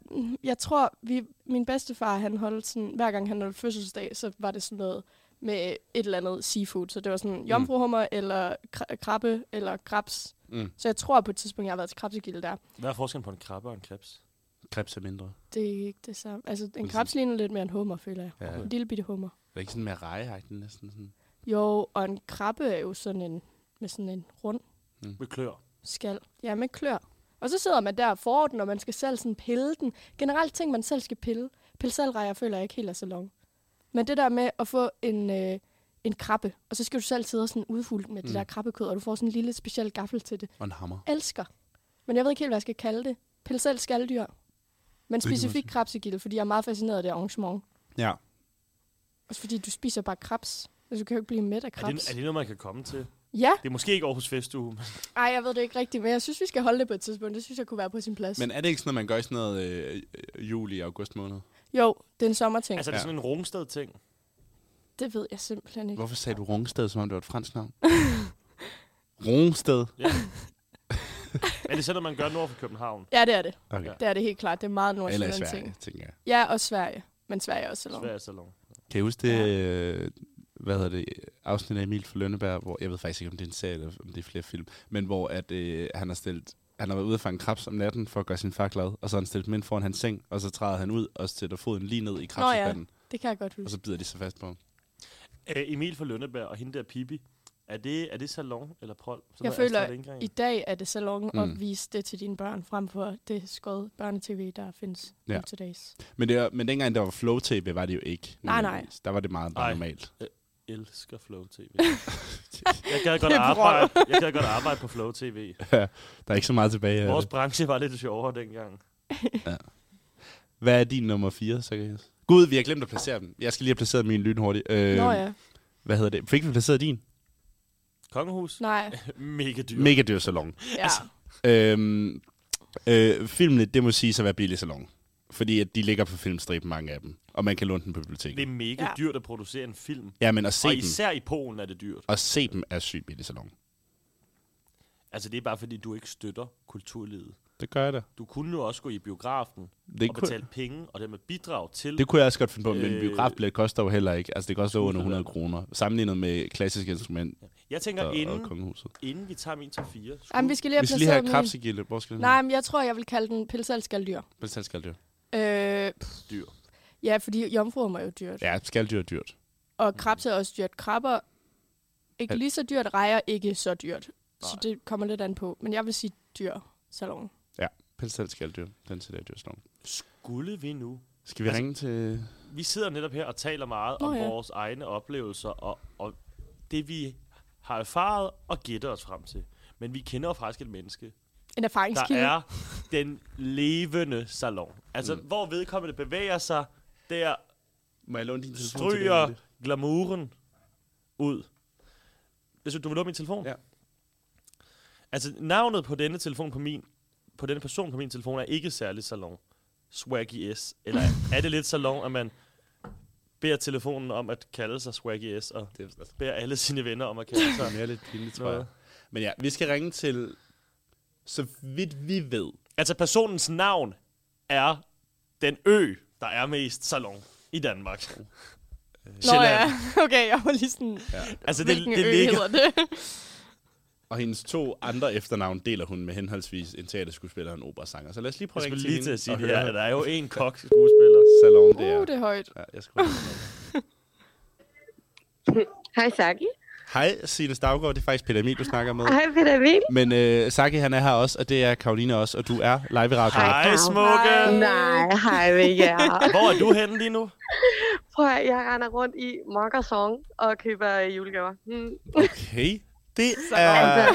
jeg tror, vi, min bedstefar, han holdt sådan, hver gang han holdt fødselsdag, så var det sådan noget med et eller andet seafood. Så det var sådan jomfruhummer, eller kra- krabbe, eller krebs. Mm. Mm. Så jeg tror på et tidspunkt, jeg har været til krebsegilde der. Hvad er forskellen på en krabbe og en krebs? Krebs er mindre. Det er ikke det samme. Altså, en Præcis. krebs ligner lidt mere en hummer, føler jeg. Ja. En lille bitte hummer. Det er ikke sådan mere rejehagtig næsten. Sådan. Jo, og en krabbe er jo sådan en, med sådan en rund Med klør. skal. Ja, med klør. Og så sidder man der og får den, og man skal selv sådan pille den. Generelt ting, man selv skal pille. Pille selv rejer føler jeg ikke helt er så long. Men det der med at få en, øh, en krabbe, og så skal du selv sidde og sådan udfulde den med mm. det der krabbekød, og du får sådan en lille speciel gaffel til det. Og en hammer. Elsker. Men jeg ved ikke helt, hvad jeg skal kalde det. Pille selv skaldyr. Men specifikt krabsegilde, fordi jeg er meget fascineret af det arrangement. Ja. Også fordi du spiser bare krabs. Altså, du kan jo ikke blive mæt af Er det, krabs. er det noget, man kan komme til? Ja, Det er måske ikke Aarhus Festuge, men Ej, jeg ved det ikke rigtigt, men jeg synes, vi skal holde det på et tidspunkt. Det synes jeg kunne være på sin plads. Men... Men er det ikke sådan noget, man gør i sådan noget øh, øh, juli og august måned? Jo, det er en sommerting. Altså... altså, er det Ja. sådan en Rungsted-ting? Det ved jeg simpelthen ikke. Hvorfor sagde du Rungsted, som om det var et fransk navn? Rungsted. Ja. er det sådan, at man gør nord for København? Ja, det er det. Okay. Det er det helt klart. Det er meget Eller i nordsjælland Sverige, ting. tænker jeg. Ja, og Sverige. Men Sverige er også salon. Sverige Salon. Kan I huske det, ja. hvad hedder det, afsnit af Emil for Lønneberg, hvor, jeg ved faktisk ikke, om det er en serie, eller om det er flere film, men hvor at, øh, han har stillet han har været ude at fange krebs om natten for at gøre sin far glad, og så har han stillet dem ind foran hans seng, og så træder han ud og sætter foden lige ned i Nå ja, krebsbanden, det kan jeg godt og huske. så bider de sig fast på ham. Øh, Emil fra Lønneberg og hende der Pippi. Er det, er det Salon eller Prol? Sådan Jeg noget Astrid føler, Lindgren. i dag er det salon mm. Mm. at vise det til dine børn, frem for det skød børnetv, der findes Ja. ja. til dags. Men, det, var- men dengang der var flow tv var det jo ikke. Ah, Nej, nej. nødvendigvis. Der var det meget bare Nej. normalt. elsker Flow TV. jeg gad godt Det er brøl. arbejde, jeg gad godt arbejde på Flow TV. Der er ikke så meget tilbage af Vores det. branche var lidt sjovere dengang. Hvad er din nummer 4, så kan jeg... Gud, vi har glemt at placere dem. Jeg skal lige have placeret min lyn hurtigt. Øh, Nå ja, Hvad hedder det? Fik vi placeret din? Kongehus? nej. Altså, Mega dyr. Mega dyr salon. Ja. Øhm, øh, filmene, det må sige at være billig salon. Fordi at de ligger på filmstriben, mange af dem. Og man kan låne dem på biblioteket. Det er mega Ja. dyrt at producere en film. Ja, men at se og dem, især i Polen er det dyrt. at se dem er sygt billig salon. Altså, det er bare fordi, du ikke støtter kulturlivet. Det gør jeg da. Du kunne jo også gå i biografen Det og kunne- betale penge, og dermed bidrage til... Det kunne jeg også godt finde på, men øh, Øh, biografbillet koster jo heller ikke. Altså, det koster under 100 Skuespiller. kroner. Sammenlignet med klassiske instrumenter Jeg tænker, og, og inden, kongehuset. inden vi tager min top 4... Skulle... Jamen, vi skal lige Vi have skal lige have placeret min. krabsegilde. Hvor skal den Nej, men jeg tror, jeg vil kalde den pilsalskaldyr. Vel, selv skal dyr. Øh, Dyr. ja, fordi jomfruer er jo dyrt. Ja, skaldyr er dyrt. Og krebs er også dyrt. Krabber ikke Al- lige så dyrt, rejer ikke så dyrt. Nej. Så Nej. det kommer lidt an på. Men jeg vil sige dyr salon. Ja, pensel skal dyr. Den til det dyr salon. Skulle vi nu... Skal vi altså, Altså- ringe til... Vi sidder netop her og taler meget Nå om ja. vores egne oplevelser, og, og det vi har erfaret og gætter os frem til. Men vi kender jo faktisk et menneske, En der erfaringskilde. er den levende salon. Altså, mm. hvor vedkommende bevæger sig, der Må jeg låne din telefon stryger glamouren ud. Hvis du du vil låne min telefon? Ja. Altså, navnet på denne telefon på min, på denne person på min telefon er ikke særlig salon. Swaggy S. Eller er det lidt salon, at man beder telefonen om at kalde sig Swaggy S, og Det er altså, beder alle sine venner om at kalde sig... Det er lidt pinligt, tror Nå. jeg. Men ja, vi skal ringe til, så vidt vi ved, Altså, personens navn er den ø, der er mest salon i Danmark. Nå Sjælland. ja, okay, jeg var lige sådan, Altså, det, hvilken det ø ligger... hedder det? og hendes to andre efternavn deler hun med henholdsvis en teaterskuespiller og en operasanger. Så lad os lige prøve Jeg at skulle ringe lige til hende at sige og det. høre Ja, der er jo en kok skuespiller. salon der. Uh, det er højt. Ja, jeg skulle ringe til salon. Hej Saki. Hej, Signe Stavgaard. Det er faktisk Peter Emil, du snakker med. Hej Peter Emil. Men øh, Saki, han er her også, og det er Karoline også, og du er live i radioen. Hej, smukke. Hej. Nej, hej med jer. Hvor er du henne lige nu? Prøv at, jeg render rundt i Mokkersong og køber øh, julegaver. Hmm. Okay. Det Altså, er...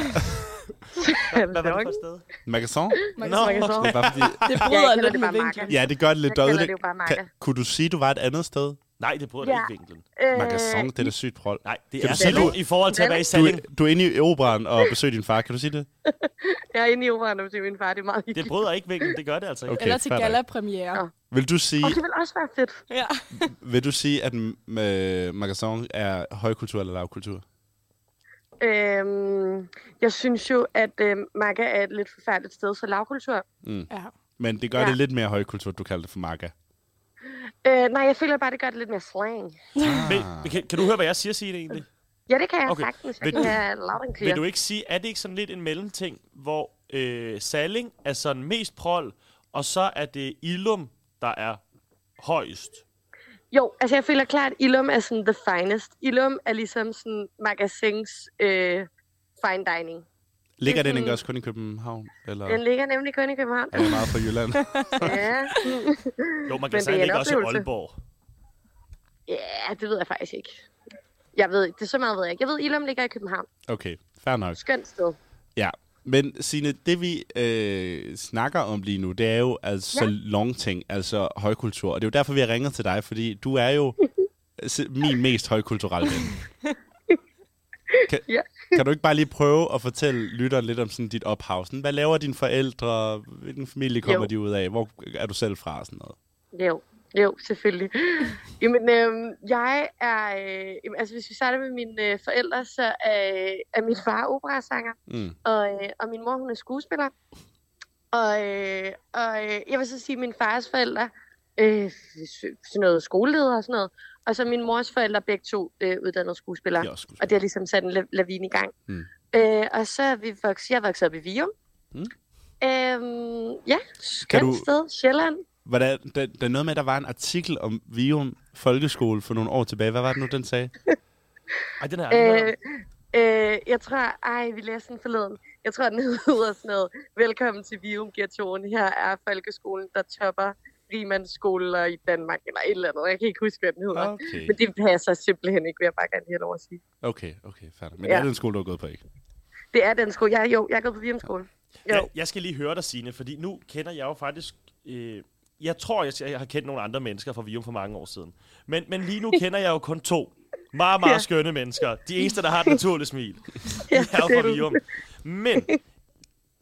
Hvad var det for et sted? Magasin? Man Nå. kan Mokkersong. Det er bare fordi... det Ja, bryder jeg kender lidt det med bare vinklen. makker. Ja, det gør det lidt Jeg kender dårligt. det jo bare Kan, makker. kunne du sige, du var et andet sted? Nej, det burde ja. Ja. ikke vinklen. Øh, Magasin, det er da sygt prol. Nej, det Kan er du sige, salon du- i forhold til at være i Du, salon. du er inde i operan og besøger din far, kan du sige det? Jeg er inde i operen og til min far, det er meget Det hyggeligt. bryder ikke vinklen, det gør det altså ikke. Okay, Eller til fair nok. gala-premiere. Nå. Vil du sige, Og det vil også være fedt. Ja. vil du sige at m- øh, magasin er højkultur eller lavkultur? Øhm, jeg synes jo, at øh, Makka er et lidt forfærdeligt sted for lavkultur. ja. Men det gør ja. Ja. det lidt mere højkultur, du kalder det for maga. Øh, nej, jeg føler bare, det gør det lidt mere slang. Men, men kan, kan du høre, hvad jeg siger, Signe, egentlig? Ja, det kan jeg Okay. okay. sagtens. Vil Det kan du- jeg loud and Vil clear. du ikke sige, er det ikke sådan lidt en mellemting, hvor øh, saling er sådan mest prol, og så er det Ilum, der er højst. Jo, altså jeg føler klart, at Ilum er sådan the finest. Ilum er ligesom sådan magasins øh, fine dining. Ligger den ikke også kun i København? Eller Mm-hmm. Den ligger nemlig kun i København. er det meget fra Jylland? Ja, Jo, man det kan sige, er en ligger også i oplevelse. Aalborg. ja det ved jeg faktisk ikke. Jeg ved ikke, det er så meget ved jeg ikke. Jeg ved, Ilum ligger i København. okay, fair nok. Skønt sted. Ja. Men Signe, det vi øh, snakker om lige nu, det er jo altså ja. longting, altså højkultur. Og det er jo derfor, vi har ringet til dig, fordi du er jo s- min mest højkulturelle ven. Kan, Ja. kan du ikke bare lige prøve at fortælle lytteren lidt om sådan dit ophav? Sådan, hvad laver dine forældre? Hvilken familie kommer Jo. de ud af? Hvor er du selv fra? og Sådan noget. Jo, jo, selvfølgelig. Jamen, øhm, jeg er... Øh, jamen, altså, hvis vi starter med mine øh, forældre, så øh, er min far operasanger, Mm. og, øh, og min mor, hun er skuespiller. Og, øh, og øh, jeg vil så sige, at min fars forældre, øh, sådan noget skoleleder og sådan noget, og så min mors forældre, begge to øh, uddannede skuespillere. Jeg er også skuespiller. Og det har ligesom sat en la- lavine i gang. Mm. Øh, og så er vi vokset, jeg er vokset op i Vium. Mm. Øhm, Kan ja, skønt du- du... sted, Sjælland. Hvordan, der, der er noget med, at der var en artikel om Vium Folkeskole for nogle år tilbage. Hvad var det nu, den sagde? Ej, den her. Øh, Øh... øh, jeg tror, ej, vi læste den forleden. Jeg tror, den hedder sådan noget. Velkommen til Vium Ghettoen. Her er folkeskolen, der topper rimandsskoler i Danmark, eller et eller andet. Jeg kan ikke huske, hvad den hedder. Okay. Men det passer simpelthen ikke, vil jeg bare gerne lige have lov at sige. Okay, okay, færdig. Men ja. Ja. er det en skole, du har gået på, ikke? Det er den skole. Jeg, jo, jeg er gået på Vium skole. Jeg, Jo. jeg skal lige høre dig, Signe, fordi nu kender jeg jo faktisk... Øh, jeg tror, jeg, jeg har kendt nogle andre mennesker fra Vium for mange år siden. Men, men lige nu kender jeg jo kun to meget, meget Ja. skønne mennesker. De eneste, der har et naturligt smil. Ja, Jeg er det jo er fra du. Virum. Men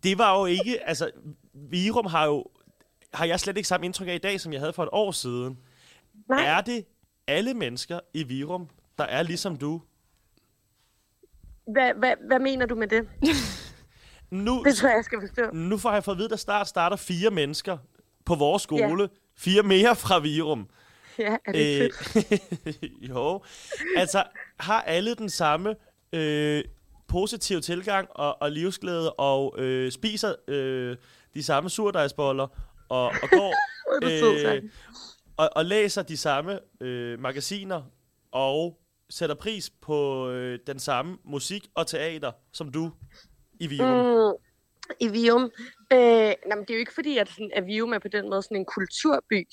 det var jo ikke... Altså, Virum har jo... Har jeg slet ikke samme indtryk af i dag, som jeg havde for et år siden. Nej. Er det alle mennesker i Virum, der er ligesom du? Hvad, hvad, hvad mener du med det? Nu, Det tror jeg, jeg skal forstå. nu får jeg fået at vide, at der snart starter fire mennesker på vores skole. Ja. Fire mere fra Virum. Ja, er det ikke Øh, fedt? jo. Altså, har alle den samme øh, positive tilgang og, og livsglæde, og øh, spiser øh, de samme surdejsboller, og, og går øh, Hvor er du sød, tak. og, og læser de samme øh, magasiner, og sætter pris på øh, den samme musik og teater, som du i Virum. Mm. Mm, I Vium. Øh, nej, men det er jo ikke fordi, at, sådan, at Vium er på den måde sådan en kulturby.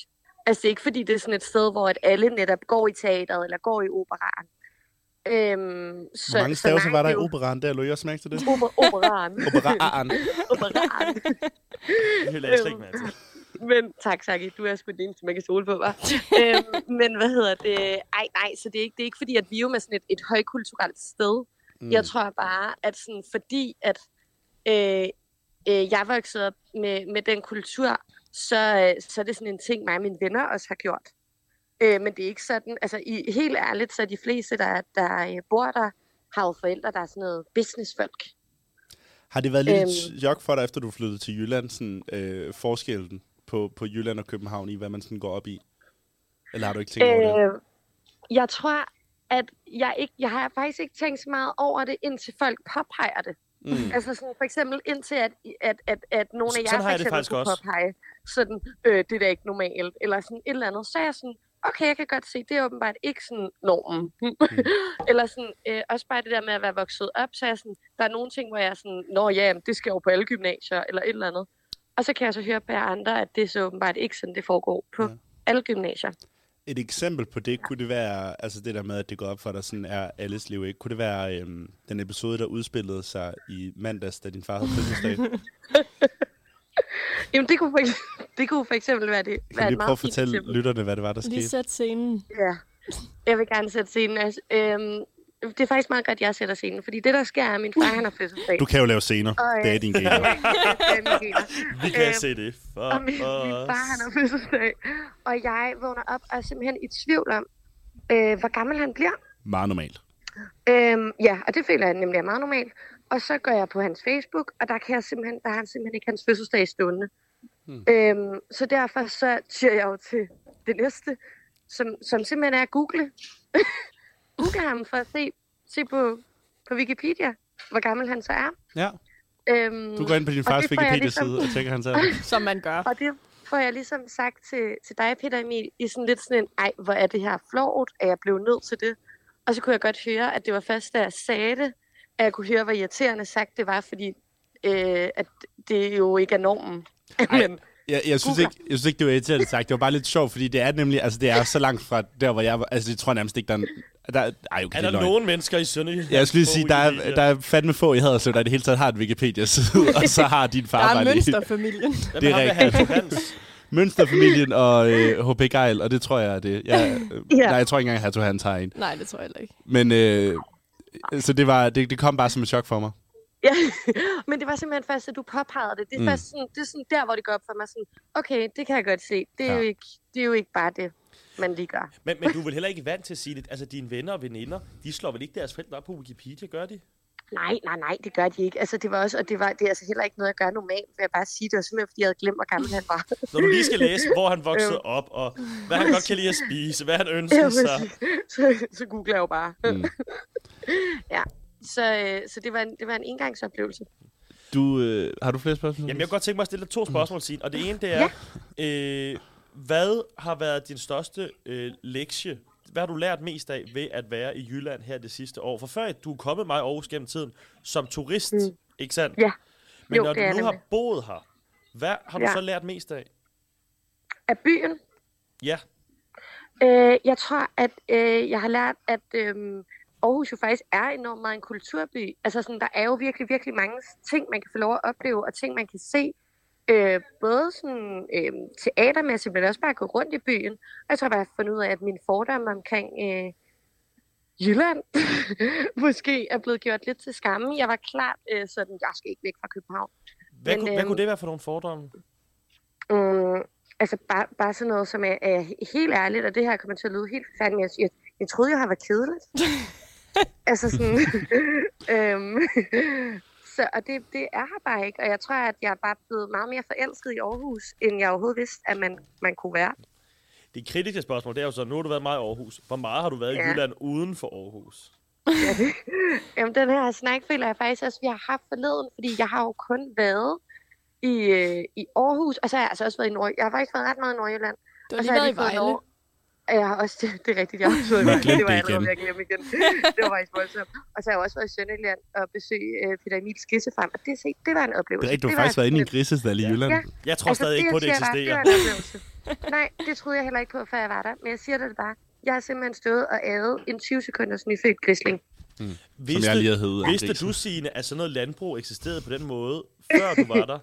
Altså det er ikke fordi, det er sådan et sted, hvor at alle netop går i teateret eller går i operaen. Øhm, så, Hvor mange så stavelser nej, var der det i er jo operan der? Lå I også mærke til det? Oper- operaen. Operaren. operaen. Det hører jeg slet ikke med til. Men tak, Saki. Du er sgu den eneste, man kan stole på, var. øhm, men hvad hedder det? Ej, nej, så det er ikke, det er ikke fordi, at Vium er sådan et, et højkulturelt sted. Mm. Jeg tror bare, at sådan, fordi at øh, øh, jeg voksede op med, med den kultur, så, øh, så er det sådan en ting, mig og mine venner også har gjort. Øh, men det er ikke sådan, altså i, helt ærligt, så er de fleste, der, der øh, bor der, har jo forældre, der er sådan noget businessfolk. Har det været lidt Øhm. et chok for dig, efter du flyttede til Jylland, sådan, øh, forskellen på, på Jylland og København i, hvad man sådan går op i? Eller har du ikke tænkt over det? Øh, jeg tror, at jeg ikke, jeg har faktisk ikke tænkt så meget over det, indtil folk påpeger det. Mm. Altså sådan, for eksempel indtil, at, at, at, at nogle af Sådan jer har for jeg det eksempel faktisk kunne også. påpege, sådan, øh, det er da ikke normalt, eller sådan et eller andet. Så er jeg sådan, okay, jeg kan godt se, det er åbenbart ikke sådan normen. Mm. eller sådan, øh, også bare det der med at være vokset op, så er jeg sådan, der er nogle ting, hvor jeg er sådan, nå ja, jamen, det skal jo på alle gymnasier, eller et eller andet. Og så kan jeg så høre på jer andre, at det er så åbenbart ikke sådan, det foregår på ja. alle gymnasier. Et eksempel på det kunne det være, altså det der med, at det går op for dig, sådan er alles liv ikke. Kunne det være øhm, den episode, der udspillede sig i mandags, da din far havde fødselsdag? Kan Jamen, det kunne for eksempel, det kunne for eksempel være det. du være lige et prøve at meget fint fortælle eksempel. lytterne, hvad det var, der Lige skete? sæt scenen. Ja. Jeg vil gerne sætte scenen. Altså, øhm, det er faktisk meget godt, jeg sætter scenen, fordi det, der sker, er, at min far, han har fødselsdag. Du kan jo lave scener. Øj. Det er din gave. Vi kan Øhm, se det for og min, min os. far, han har fødselsdag. Og jeg vågner op og er simpelthen i tvivl om, øh, hvor gammel han bliver. Meget normalt. Øhm, ja, og det føler jeg nemlig er meget normalt. Og så går jeg på hans Facebook, og der, kan jeg simpelthen, der har han simpelthen ikke hans fødselsdag stående. Hmm. Øhm, så derfor så tyrer jeg jo til det næste, som, som simpelthen er at google. google ham for at se, se på, på Wikipedia, hvor gammel han så er. Ja. Øhm, Du går ind på din og fars det får jeg ligesom- Wikipedia-side og tænker han så... Som man gør. og det, får jeg ligesom sagt til, til dig, Peter Emil, i sådan lidt sådan en, ej, hvor er det her flot, at jeg blev nødt til det. Og så kunne jeg godt høre, at det var først, da jeg sagde det, at jeg kunne høre, hvor irriterende sagt det var, fordi øh, at det jo ikke er normen. Ej, jeg, jeg, synes ikke, jeg synes ikke, det var irriterende sagt. Det var bare lidt sjovt, fordi det er nemlig, altså det er så langt fra der, hvor jeg var. Altså det tror jeg nærmest ikke, der er... en- der, ej, okay, Er det der løgn. nogen mennesker i Sønderjylland? Jeg skulle lige sige, der Oh, er, ja. der er fandme få i Haderslev, der i det hele taget har et Wikipedia-side, og så har din far Der er bare lige- mønsterfamilien. Hvem det er ham med rigtigt. Hans Hans? Mønsterfamilien og øh, H.P. Geil, og det tror jeg er det. Jeg, øh, Ja. Nej, jeg tror ikke engang, at Hato Hans har en. Nej, det tror jeg heller ikke. Men øh, så det, var, det, det kom bare som et chok for mig. Ja, men det var simpelthen først, at du påpegede det. Det er, mm. først sådan, det er sådan der, hvor det går op for mig. Sådan, okay, det kan jeg godt se. Det er, Ja. ja. jo, ikke, det er jo ikke bare det, man lige gør. Men, men du er vel heller ikke vant til at sige det. Altså, dine venner og veninder, de slår vel ikke deres forældre op på Wikipedia, gør de? Nej, nej, nej, det gør de ikke. Altså, det var også, og det, var, det er altså heller ikke noget, jeg gør normalt, vil jeg bare sige. Det var simpelthen, fordi jeg havde glemt, hvor gammel han var. Når du lige skal læse, hvor han voksede op, og hvad han godt kan lide at spise, hvad han Ja, ønsker sig. præcis. så, så googler jeg jo bare. Mm. ja, så, øh, så det, var en, det var en engangsoplevelse. Du, øh, har du flere spørgsmål? Jamen, jeg kunne godt tænke mig at stille dig to Mm. spørgsmål, Signe. Og det ene, det er, øh, hvad har været din største øh, lektie? Hvad har du lært mest af ved at være i Jylland her det sidste år? For før du er kommet mig i Aarhus gennem tiden som turist, mm. ikke sandt? Ja. Men Jo, når det du er jeg nu har nemlig. boet her, hvad har du Ja. så lært mest af? Af byen, Ja, Øh, jeg tror, at øh, jeg har lært, at øh, Aarhus jo faktisk er enormt meget en kulturby. Altså, sådan, der er jo virkelig, virkelig mange ting, man kan få lov at opleve, og ting, man kan se. Øh, både sådan, øh, teatermæssigt, men også bare at gå rundt i byen. Og jeg tror bare, jeg har fundet ud af, at min fordomme omkring øh, Jylland måske er blevet gjort lidt til skamme. Jeg var klart øh, sådan, jeg skal ikke væk fra København. hvad, Men, kunne, hvad øhm, kunne det være for nogle fordomme? Mm, altså bare, bare sådan noget, som er, er helt ærligt, og det her kommer til at lyde helt forfærdeligt, men jeg, jeg, jeg troede jo, han var kedeligt. altså sådan... øhm, så, og det, det er her bare ikke, og jeg tror, at jeg er bare blevet meget mere forelsket i Aarhus, end jeg overhovedet vidste, at man, man kunne være. Det kritiske spørgsmål, det er jo så, nu har du været meget i Aarhus. Hvor meget har du været ja. i Ja. Jylland uden for Aarhus? Jamen, den her snak føler jeg faktisk også, vi har haft forleden, fordi jeg har jo kun været i, øh, i Aarhus, og så har jeg altså også været i Norge. Jeg har faktisk været ret meget i Nordjylland. Du har Og lige så Altså, har været jeg i fået Vejle. lov- Ja, Jeg har også, det, det er rigtigt, jeg har også fået Man det. glemte Det var det allerede igen. ved at glemme igen. Det var faktisk voldsomt. Og så har jeg også været i Sønderjylland og besøgt øh, Peter Emil Skissefrem, og det, se, det var en oplevelse. Det er rigtigt, du har var faktisk været inde i en sådan grisestal i Jylland. Ja. Jeg tror lidt- altså, stadig ikke på, at det siger eksisterer. jeg bare, Det var en oplevelse. Nej, det troede jeg heller ikke på, før jeg var der. Men jeg siger det bare. Jeg har simpelthen stået og adet en 20 sekunders nyfødt grisling. Vidste, jeg lige har heddet, Vidste Andresen. du, Signe, at sådan noget landbrug eksisterede på den måde, før du var der?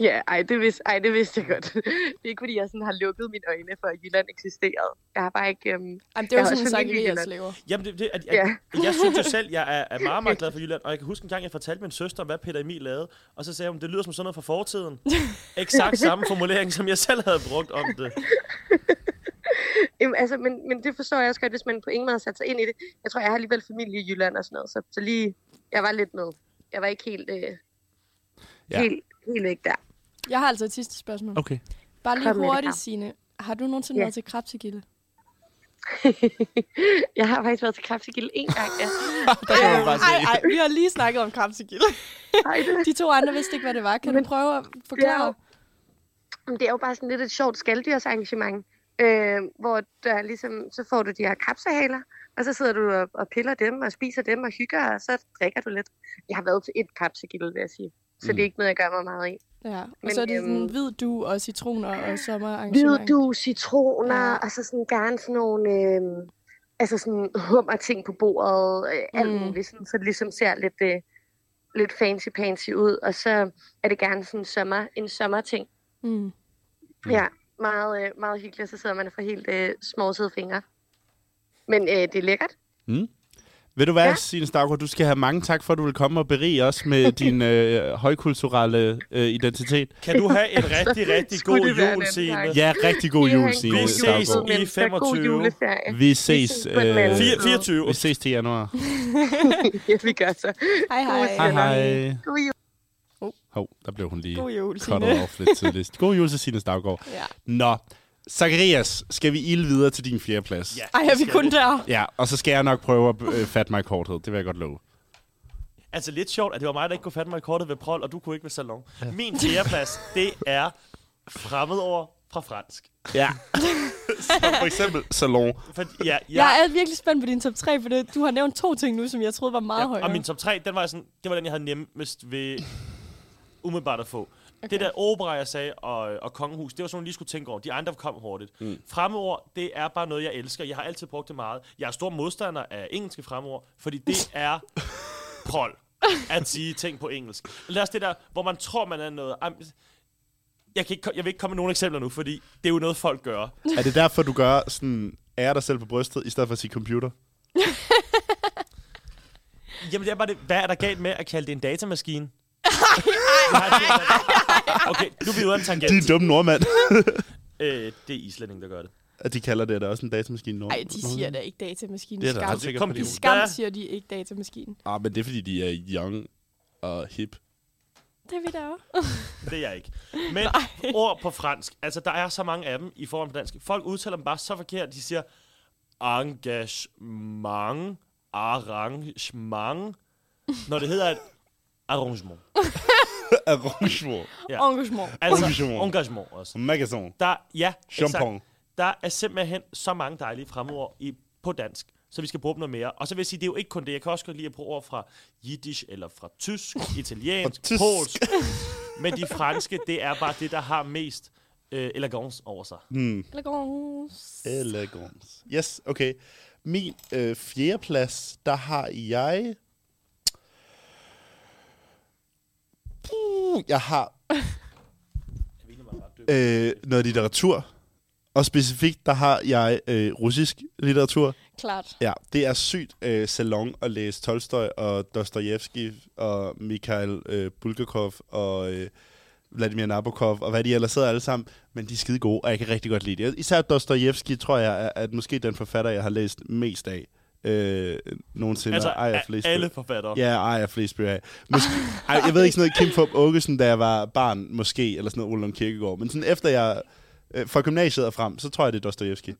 Ja, ej det, vidste, ej, det vidste jeg godt. Det er ikke, fordi jeg sådan har lukket mine øjne for, at Jylland eksisterede. Jeg har bare ikke... Øhm, Jamen, det jeg er jo har sådan en også familie sangeri, i jeg Jylland. lever. Jamen, det, det, at, at, Ja. ja. jeg synes jo selv, jeg er, er meget, meget glad for Jylland. Og jeg kan huske en gang, jeg fortalte min søster, hvad Peter Emil lavede. Og så sagde hun, det lyder som sådan noget fra fortiden. Exakt samme formulering, som jeg selv havde brugt om det. Jamen, altså, men, men det forstår jeg også godt, hvis man på ingen måde har sat sig ind i det. Jeg tror, jeg har alligevel familie i Jylland og sådan noget, så, så lige, jeg var lidt med. Jeg var ikke helt, øh, Ja. ja. helt, helt væk der. Jeg har altså et sidste spørgsmål. Okay. Bare lige Kom med det, hurtigt, Karen. Signe. Har du nogensinde Ja. været til Krabsegilde? jeg har faktisk været til Kraftigilde en gang, ja. Der kan man bare se. Nej, nej, vi har lige snakket om Krabsegilde. Ej, det, De to andre vidste ikke, hvad det var. Kan du prøve at forklare? men det er jo bare sådan lidt et sjovt skalddyrsarrangement, øh, hvor der ligesom, så får du de her kapsehaler, og så sidder du og, og piller dem og spiser dem og hygger, og så drikker du lidt. Jeg har været til et kapsegilde, vil jeg sige. Så mm. det er ikke noget, jeg gør mig meget i. Ja, og Men, så er det sådan øhm, hvid du og citroner og sommerarrangement. Hvid du, citroner, Ja. ja. og så sådan gerne sådan nogle øh, altså sådan hummer ting på bordet, øh, alt Mm. muligt, sådan, så det ligesom ser lidt, øh, lidt fancy-pansy ud, og så er det gerne sådan en sommer, en sommerting. Mm. Ja, meget, øh, meget hyggeligt, og så sidder man og får helt øh, småsede fingre. Men øh, det er lækkert. Ved du hvad, ja. Ja. Signe Stavgaard, du skal have mange tak for, at du vil komme og berige os med din øh, højkulturelle øh, identitet. Kan du have en rigtig, rigtig Skulle god det være jul, den, Signe? tak. Ja, rigtig god Ja, jul, en Signe god Vi ses jul, Stavgaard. i mennesker. God 25. juleferie. Vi ses, på den øh, anden Fire- side. 24. Vi ses til januar. ja, vi gør så. Hej, Hej, hej. hej. God jul. Hov, der blev hun lige God jul, cuttet Signe. off lidt tidligt. God jul til Signe Stavgaard. Ja. Nå, Zacharias, skal vi ilde videre til din fjerdeplads? Ja. Ej, er vi kun der? Ja, og så skal jeg nok prøve at øh, fatte mig i korthed. Det vil jeg godt love. Altså lidt sjovt, at det var mig, der ikke kunne fatte mig i kortet ved prol, og du kunne ikke ved salon. Min fjerdeplads, det er fremmedord fra fransk. Ja. så for eksempel salon. For, ja, Ja. jeg, Jeg er virkelig spændt på din top 3, for det, du har nævnt to ting nu, som jeg troede var meget ja, højere. og min top 3, den var sådan, det var den, jeg havde nemmest ved umiddelbart at få. Okay. Det der opera, jeg sagde, og, og kongehus, det var sådan, nogle, jeg lige skulle tænke over. De andre kom hurtigt. Mm. Fremord, det er bare noget, jeg elsker. Jeg har altid brugt det meget. Jeg er stor modstander af engelske fremord, fordi det er prol at sige ting på engelsk. Eller også det der, hvor man tror, man er noget... Am- Jeg, kan ikke, ko- jeg vil ikke komme med nogle eksempler nu, fordi det er jo noget, folk gør. Er det derfor, du gør sådan ære dig selv på brystet, i stedet for at sige computer? Jamen, det er bare det. Hvad er der galt med at kalde det en datamaskine? Nej, det er- okay, nu er vi ude af en tangent. De er dumme nordmænd. Øh, det er islænding, der gør det. At de kalder det da også en datamaskine. Nord- Nej, de siger da ikke datamaskine. Det er da skam. ret sikkert, Kom, fordi I du. skam Ja. siger de ikke datamaskine. Ah, men det er fordi, de er young og hip. Det er vi da også. Det er jeg ikke. Men ord på fransk. Altså, der er så mange af dem i forhold til dansk. Folk udtaler dem bare så forkert. De siger engagement, arrangement, når det hedder et arrangement. Arrangement. Ja. Engagement. Altså, Engagement. engagement også. Magazine. Der, ja, Champagne. exakt. Der er simpelthen så mange dejlige fremord i, på dansk, så vi skal bruge dem noget mere. Og så vil jeg sige, det er jo ikke kun det. Jeg kan også godt lide at bruge ord fra jiddisch, eller fra tysk, italiensk, tysk. polsk. Men de franske, det er bare det, der har mest øh, elegance over sig. Elegance. Øh. Elegance. Yes, okay. Min øh, fjerde plads, der har jeg... Uh, jeg har øh, noget litteratur, og specifikt, der har jeg øh, russisk litteratur. Klart. Ja, det er sygt øh, salon at læse Tolstoj og Dostojevski og Mikhail øh, Bulgakov og øh, Vladimir Nabokov og hvad de ellers sidder alle sammen. Men de er skide gode, og jeg kan rigtig godt lide det. Især Dostojevski tror jeg er at måske den forfatter, jeg har læst mest af øh, nogensinde. Altså, og ejer af flest alle bøger. forfattere. Ja, ej, jeg flest bøger af. Måske, ej, jeg ved ikke sådan noget Kim Fub Åkesson, da jeg var barn, måske, eller sådan noget Ole Lund Kirkegaard. Men sådan efter jeg, øh, fra gymnasiet og frem, så tror jeg, det er Dostojevski.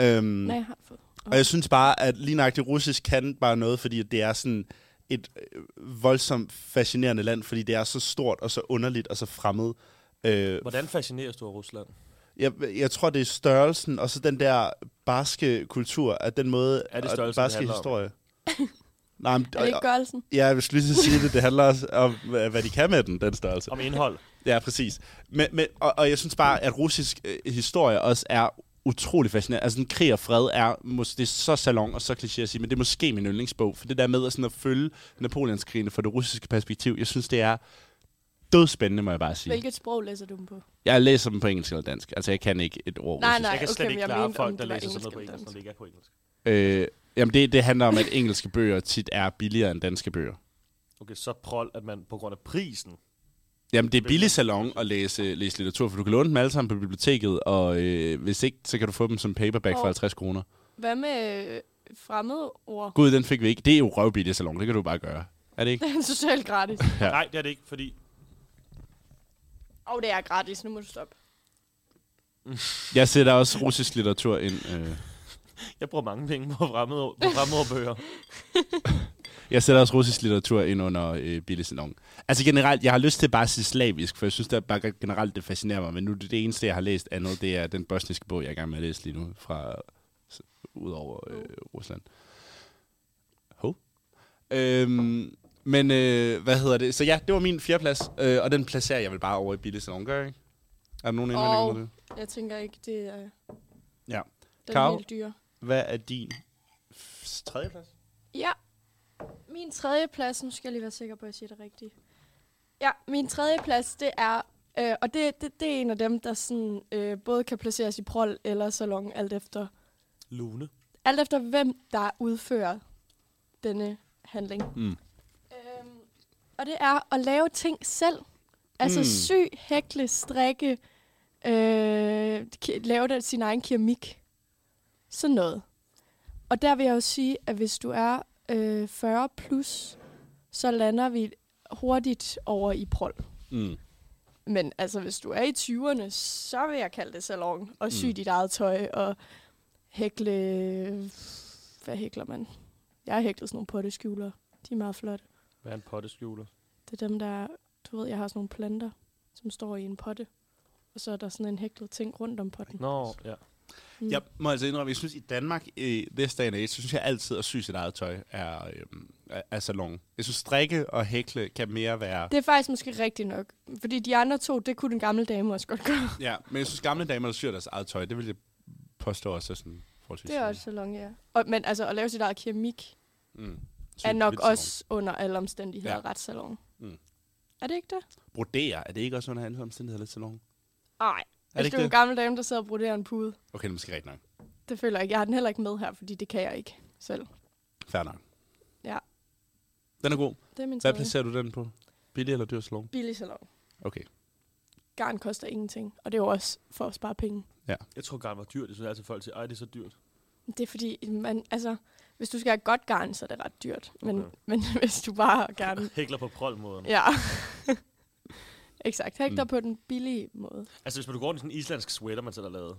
Øhm, Nej, jeg har fået. og jeg synes bare, at lige nøjagtigt russisk kan bare noget, fordi det er sådan et øh, voldsomt fascinerende land, fordi det er så stort og så underligt og så fremmed. Øh, Hvordan fascineres du af Rusland? jeg, jeg tror, det er størrelsen, og så den der barske kultur, at den måde, Er det og størrelsen, det barske handler om? historie. Nej, men, Er det ikke gørelsen? ja, jeg vil lige så sige det, det handler også om, hvad hvad de kan med den, den størrelse. Om indhold? Ja, præcis. Men, men, og, og jeg synes bare, at russisk øh, historie også er utrolig fascinerende. Altså, sådan, krig og fred er, mås- det er så salon og så kliché at sige, men det er måske min yndlingsbog. For det der med at, sådan, at følge Napoleonskrigene fra det russiske perspektiv, jeg synes, det er dødspændende, må jeg bare sige. Hvilket sprog læser du dem på? Jeg læser dem på engelsk eller dansk. Altså, jeg kan ikke et ord Nej, russisk. nej, jeg kan slet okay, ikke men jeg klare mente, om folk, der det var læser sådan noget engelsk på eller engelsk, når dansk. det ikke er på engelsk. Øh, jamen, det, det handler om, at engelske bøger tit er billigere end danske bøger. Okay, så prol, at man på grund af prisen... Jamen, det er billig salon at læse, læse litteratur, for du kan låne dem alle sammen på biblioteket, og øh, hvis ikke, så kan du få dem som paperback for Og- 50 kroner. Hvad med øh, fremmede ord? Gud, den fik vi ikke. Det er jo røvbillig salon. Det kan du bare gøre. Er det ikke? Det er totalt gratis. Ja. Ja. Nej, det er det ikke, fordi... Åh, oh, det er gratis. Nu må du stoppe. Jeg sætter også russisk litteratur ind. Øh. Jeg bruger mange penge på fremmede, på fremmede bøger. Jeg sætter også russisk litteratur ind under øh, billig salon. Altså generelt, jeg har lyst til bare at sige slavisk, for jeg synes det er bare generelt, det fascinerer mig. Men nu det, det eneste, jeg har læst andet, det er den bosniske bog, jeg er i gang med at læse lige nu, fra s- ud over øh, Rusland. Ho. Øhm, men øh, hvad hedder det? Så ja, det var min fjerdeplads, øh, og den placerer jeg vel bare over i billig salon, gør jeg ikke? Er der nogen indvendinger Og mod det? jeg tænker ikke, det er Ja. den Karo? helt dyre. Hvad er din f- tredje plads? Ja. Min tredje plads, nu skal jeg lige være sikker på, at jeg siger det rigtigt. Ja, min tredje plads, det er, øh, og det, det, det er en af dem, der sådan, øh, både kan placeres i prol eller salon, alt efter, Lune. alt efter hvem der udfører denne handling. Mm. Øhm, og det er at lave ting selv. Altså Mm. mm. sy, hækle, strikke, øh, ki- lave det, sin egen keramik. Sådan noget. Og der vil jeg jo sige, at hvis du er øh, 40 plus, så lander vi hurtigt over i prol. Mm. Men altså, hvis du er i 20'erne, så vil jeg kalde det salon. Og sy mm. dit eget tøj og hækle... Hvad hækler man? Jeg har hæklet sådan nogle potteskjuler. De er meget flotte. Hvad er en potteskjuler? Det er dem, der... Du ved, jeg har sådan nogle planter, som står i en potte. og så er der sådan en hæklet ting rundt om på den. Nå, ja. Mm. Jeg må altså indrømme, jeg synes i Danmark i this day and age, så synes jeg altid at sy sit eget tøj er, øhm, er, er salon. Jeg synes strikke og hækle kan mere være... Det er faktisk måske rigtigt nok, fordi de andre to, det kunne den gamle dame også godt gøre. Ja, men jeg synes gamle damer, der syr deres eget tøj, det vil jeg påstå også er sådan forholdsvis... Det er også salon, ja. Og, men altså, at lave sit eget keramik sådan er nok Mm. lidt også under alle omstændigheder Ja. ja. ret salon. Mm. Mm. Er det ikke det? salon. Brodere, er det ikke også under andre omstændigheder lidt salon? Nej. det ikke Hvis du er en det? gammel dame, der sidder og broderer en pude. Okay, det er måske rigtigt nok. Det føler jeg ikke. Jeg har den heller ikke med her, fordi det kan jeg ikke selv. Fair nok. Ja. Den er god. Det er Hvad min tredje. placerer du den på? Billig eller dyr salon? Billig salon. Okay. Garn koster ingenting, og det er jo også for at spare penge. Jeg tror garn var dyrt. Det synes altid folk siger, ej, det er så dyrt. Det er fordi, man, altså, hvis du skal have godt garn, så er det ret dyrt. Men, Okay. okay. men hvis du bare har garn... Hækler på prolmåden. Ja. Ja. Exakt. Hæk dig Mm. på den billige måde. Altså, hvis man går rundt i sådan en islandsk sweater, man selv har lavet,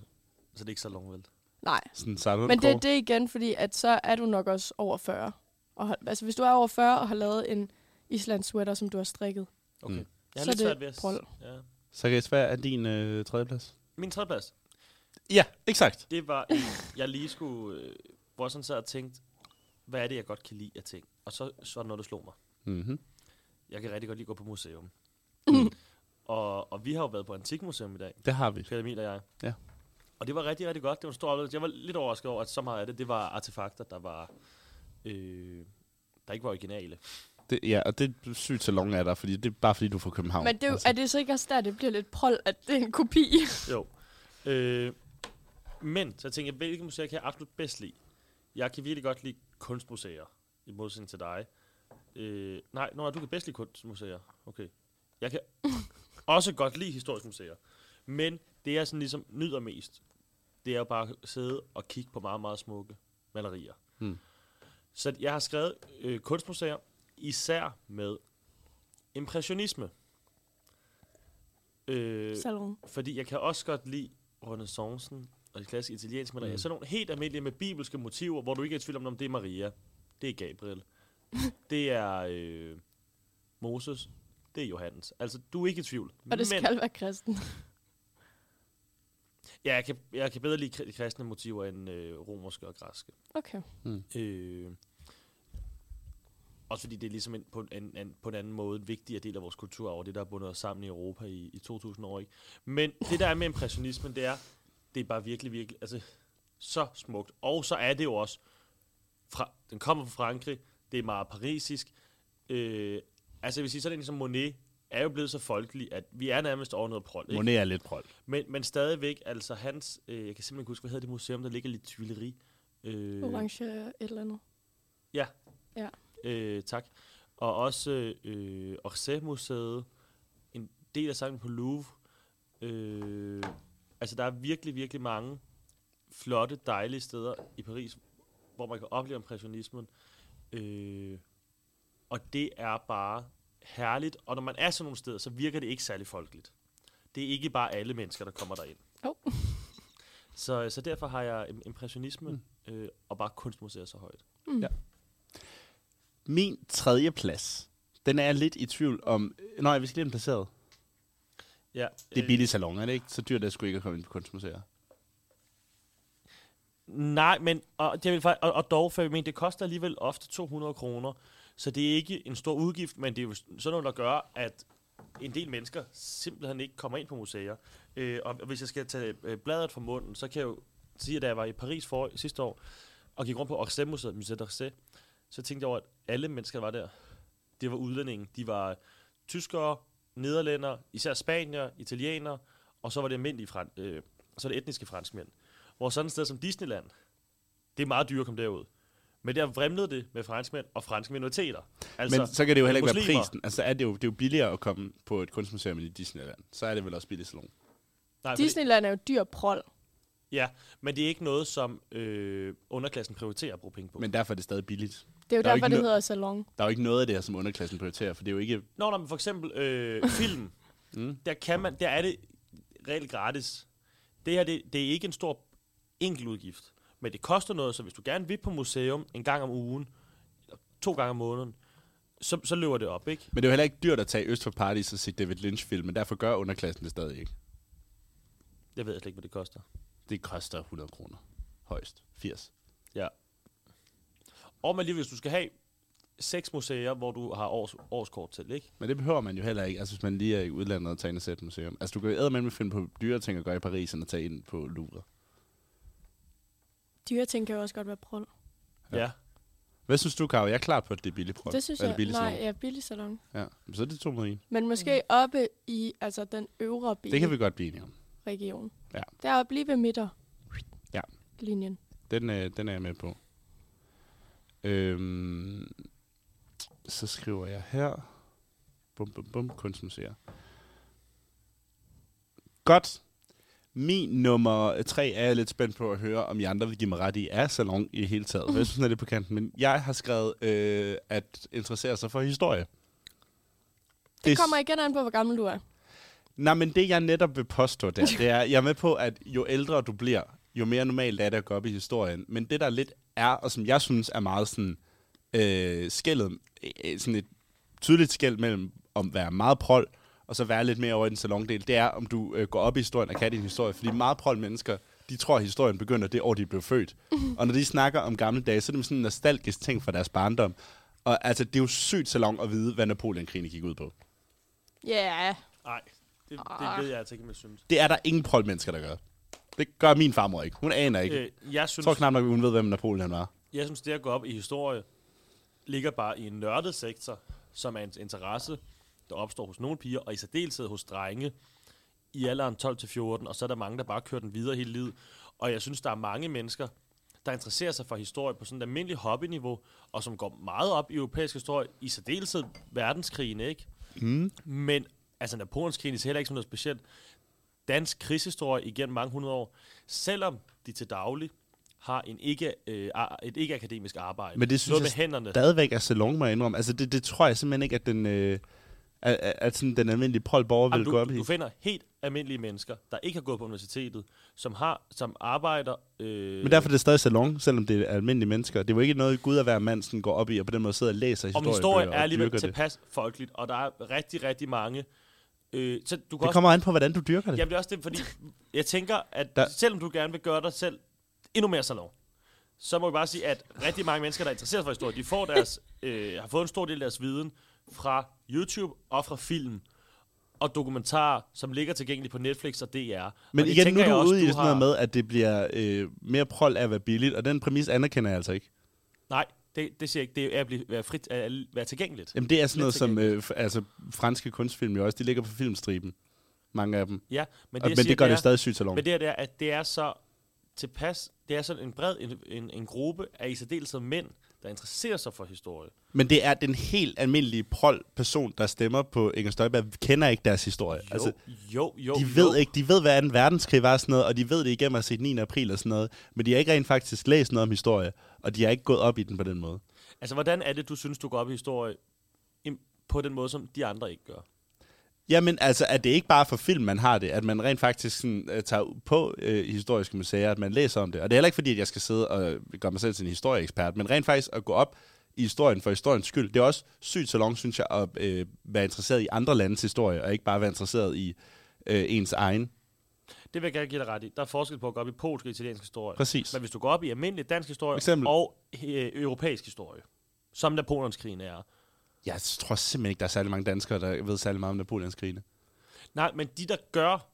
så er det ikke så vel. Nej. Sådan samlet Men det, det er igen, fordi at så er du nok også over 40. Og, har- altså, hvis du er over 40 og har lavet en islands sweater, som du har strikket, Okay. Mm. Jeg har Så lidt er det svært ved at... s- prol. Ja. Så kan jeg svære, er din øh, tredjeplads? Min tredje plads, Ja, exakt. det var, en, jeg lige skulle... Øh, hvor jeg sådan sad og tænkte, hvad er det, jeg godt kan lide af ting? Og så, så var der noget, der slog mig. Mm-hmm. Jeg kan rigtig godt lide at gå på museum. Mm. og, og vi har jo været på Antikmuseum i dag, Det har vi. Peter Emil og jeg. Ja. Og det var rigtig, rigtig godt. Det var en stor oplevelse. Jeg var lidt overrasket over, at så meget af det, det var artefakter, der var... Øh, der ikke var originale. Det, ja, og det er sygt salon er der, fordi det er bare fordi, du er fra København. Altså, Men det, er jo- er det så ikke også der, det bliver lidt prol, at det er en kopi? Jo. Øh, men så tænkte jeg, hvilke museer kan jeg absolut bedst lide? Jeg kan virkelig godt lide kunstmuseer, i modsætning til dig. Øh, nej, Nora, du kan bedst lide kunstmuseer. Okay. Jeg kan også godt lide historiske museer. Men det, jeg sådan ligesom nyder mest, det er jo bare at sidde og kigge på meget, meget smukke malerier. Mm. Så jeg har skrevet øh, kunstmuseer, især med impressionisme. Øh, Salon. fordi jeg kan også godt lide renaissancen og de klassiske italienske malerier. Mm. Sådan nogle helt almindelige med bibelske motiver, hvor du ikke er i tvivl om, om det er Maria, det er Gabriel, det er øh, Moses, det er Johannes. Altså, du er ikke i tvivl. Og det skal være kristen. ja, jeg, kan, jeg kan bedre lide kri- kristne motiver end øh, romerske og græske. Okay. Øh, også fordi det er ligesom en, på, en, en, på en anden måde en vigtigere del af vores kultur over det, der er bundet os sammen i Europa i, i 2000 år. Ikke? Men det, der er med impressionismen, det er, det er bare virkelig, virkelig altså, så smukt. Og så er det jo også, fra, den kommer fra Frankrig, det er meget parisisk. Øh, altså jeg vil sige, sådan en som Monet er jo blevet så folkelig, at vi er nærmest over noget prol. Ikke? Monet er lidt prøl. Men, men stadigvæk, altså hans, øh, jeg kan simpelthen ikke huske, hvad hedder det museum, der ligger lidt Tuileries. Øh, Orange et eller andet. Ja. Ja. Øh, tak. Og også øh, øh, Orsay-museet, en del af sangen på Louvre. Øh, altså, der er virkelig, virkelig mange flotte, dejlige steder i Paris, hvor man kan opleve impressionismen. Øh, og det er bare herligt. Og når man er sådan nogle steder, så virker det ikke særlig folkeligt. Det er ikke bare alle mennesker, der kommer derind. Jo. Så, så derfor har jeg im- impressionisme mm. øh, og bare kunstmuseer så højt. Min tredje plads, den er jeg lidt i tvivl om... Nej, vi skal lige have den placeret. Ja, Det er billig salon, er det ikke? Så dyrt er det sgu ikke at komme ind på kunstmuseer. Nej, men og, det vil, fakt- og, og dog, for jeg mener, det koster alligevel ofte 200 kroner, så det er ikke en stor udgift, men det er jo sådan noget, der gør, at en del mennesker simpelthen ikke kommer ind på museer. Øh, og hvis jeg skal tage øh, bladet fra munden, så kan jeg jo sige, at da jeg var i Paris for, sidste år, og gik rundt på Orsay-museet, Musée d'Orsay, så tænkte jeg over, at alle mennesker, der var der, det var udlændinge. De var tyskere, nederlænder, især spanier, italienere, og så var det almindelige fran- øh, så var det etniske franskmænd. Hvor sådan et sted som Disneyland, det er meget dyrt at komme derud. Men der vrimlede det med franskmænd og franske minoriteter. Altså, Men så kan det jo heller ikke være muslimer. prisen. Altså, er det, jo, det er jo billigere at komme på et kunstmuseum end i Disneyland. Så er det vel også billig salon. Nej, fordi- Disneyland er jo dyr prol. Ja, men det er ikke noget, som øh, underklassen prioriterer at bruge penge på. Men, Men derfor er det stadig billigt. Det er jo Der er jo derfor, ikke det no- hedder salon. Der er jo ikke noget af det her, som underklassen prioriterer, for det er jo ikke... Nå, når man for eksempel øh, film, mm. der, kan man, der er det reelt gratis. Det her, det, det er ikke en stor enkeltudgift, men det koster noget, så hvis du gerne vil på museum en gang om ugen, eller to gange om måneden, så, så løber det op, ikke? Men det er jo heller ikke dyrt at tage Øst for Paradis og se David Lynch-film, men derfor gør underklassen det stadig ikke. Jeg ved slet ikke, hvad det koster. Det koster 100 kroner. Højst. 80. Ja. Og men lige hvis du skal have seks museer, hvor du har års, årskort til, ikke? Men det behøver man jo heller ikke, altså hvis man lige er i udlandet og tager ind og ser et museum. Altså du kan jo med finde på dyre ting at gøre i Paris, end at tage ind på Louvre. Dyre ting kan jo også godt være prol. Ja. ja. Hvad synes du, Karo? Jeg er klart på, at det er billigt prøv. Det synes Eller jeg, billigt nej, salon. ja, billig salon. Ja. Men Så er det to mod en. Men måske mm. oppe i altså, den øvre Det kan vi godt blive enige om. region. Ja. Deroppe lige ved midter. Ja. Linjen. Den, øh, den er jeg med på. Øhm, så skriver jeg her. Bum, bum, bum. Kunstmuseer. Godt. Min nummer tre er jeg lidt spændt på at høre, om I andre vil give mig ret i, er salon i hele taget. Jeg synes, den er lidt på kanten, men jeg har skrevet, øh, at interessere sig for historie. Det kommer igen an på, hvor gammel du er. Nej, men det jeg netop vil påstå der, det er, jeg er med på, at jo ældre du bliver, jo mere normalt er det at gå op i historien. Men det der lidt er, og som jeg synes er meget sådan, øh, skældet, øh, sådan et tydeligt skæld mellem om at være meget prol, og så være lidt mere over i den salondel, det er, om du øh, går op i historien og kan din historie. Fordi meget prol mennesker, de tror, at historien begynder det år, de blev født. Og når de snakker om gamle dage, så er det sådan en nostalgisk ting fra deres barndom. Og altså, det er jo sygt salon at vide, hvad Napoleon-krigen gik ud på. Ja. Yeah. Nej, det, det ved jeg altså ikke, om jeg synes. Det er der ingen prøvmennesker, der gør. Det gør min farmor ikke. Hun aner ikke. Øh, Øh, jeg, jeg synes, tror knap nok, hun ved, hvem Napoleon var. jeg synes, det at gå op i historie ligger bare i en nørdet sektor, som er en interesse, der opstår hos nogle piger, og i særdeleshed hos drenge i alderen 12-14, og så er der mange, der bare kører den videre hele livet. Og jeg synes, der er mange mennesker, der interesserer sig for historie på sådan et almindeligt hobbyniveau, og som går meget op i europæisk historie, i særdeleshed verdenskrigen, ikke? Mm. Men altså, Napoleonskrigen er heller ikke som noget specielt. dansk krigshistorie igennem mange hundrede år, selvom de til daglig har en ikke, øh, ar- et ikke-akademisk arbejde. Men det synes Noget jeg med hænderne. stadigvæk er salon, må jeg indrømme. Altså, det, det tror jeg simpelthen ikke, at den, øh, at, at- at sådan, den almindelige prolborger vil Jamen, gå op du, i. du finder helt almindelige mennesker, der ikke har gået på universitetet, som har, som arbejder... Øh, Men derfor er det stadig salon, selvom det er almindelige mennesker. Det er jo ikke noget, Gud at være mand sådan går op i, og på den måde sidder og læser om historie. historien er alligevel det. tilpas folkeligt, og der er rigtig, rigtig mange... Øh, så du kan det også, kommer an på, hvordan du dyrker det. jamen, det er også det, fordi jeg tænker, at Der- der. selvom du gerne vil gøre dig selv endnu mere salon, så må vi bare sige, at rigtig mange mennesker, der er interesseret for historie, de får deres, øh, har fået en stor del af deres viden fra YouTube og fra film og dokumentarer, som ligger tilgængeligt på Netflix og DR. Men og det igen, nu tænker er du jeg også, ude i sådan noget har- med, at det bliver øh, mere prol af at være billigt, og den præmis anerkender jeg altså ikke. Nej, det, det siger jeg ikke. Det er at blive, være, frit, at være tilgængeligt. Jamen, det er sådan noget, Lidt som øh, f- altså, franske kunstfilm jo også, de ligger på filmstriben. Mange af dem. Ja, men Men det, det, jeg men siger, det gør det, er, jo stadig sygt salon. Men det her, det er, at det er så tilpas, det er sådan en bred en, en, en gruppe af i særdeleshed mænd, der interesserer sig for historie. Men det er den helt almindelige prol person der stemmer på Inger Støjberg, kender ikke deres historie. Jo, altså, jo, jo. de jo. ved ikke, de ved, hvad en verdenskrig var og sådan noget, og de ved det igennem at se 9. april og sådan noget, men de har ikke rent faktisk læst noget om historie, og de har ikke gået op i den på den måde. Altså, hvordan er det, du synes, du går op i historie im- på den måde, som de andre ikke gør? Jamen altså, at det ikke bare for film, man har det, at man rent faktisk sådan, øh, tager ud på øh, historiske museer, at man læser om det. Og det er heller ikke fordi, at jeg skal sidde og gøre mig selv til en historieekspert, men rent faktisk at gå op i historien for historiens skyld. Det er også sygt salon, synes jeg, at øh, være interesseret i andre landes historie, og ikke bare være interesseret i øh, ens egen. Det vil jeg gerne give dig ret i. Der er forskel på at gå op i polsk og italiensk historie. Præcis. Men hvis du går op i almindelig dansk historie Eksempel. og øh, europæisk historie, som Napoleonskrigen er, Jeg tror simpelthen ikke, der er særlig mange danskere, der ved særlig meget om Napoleonskrigene. Nej, men de, der gør,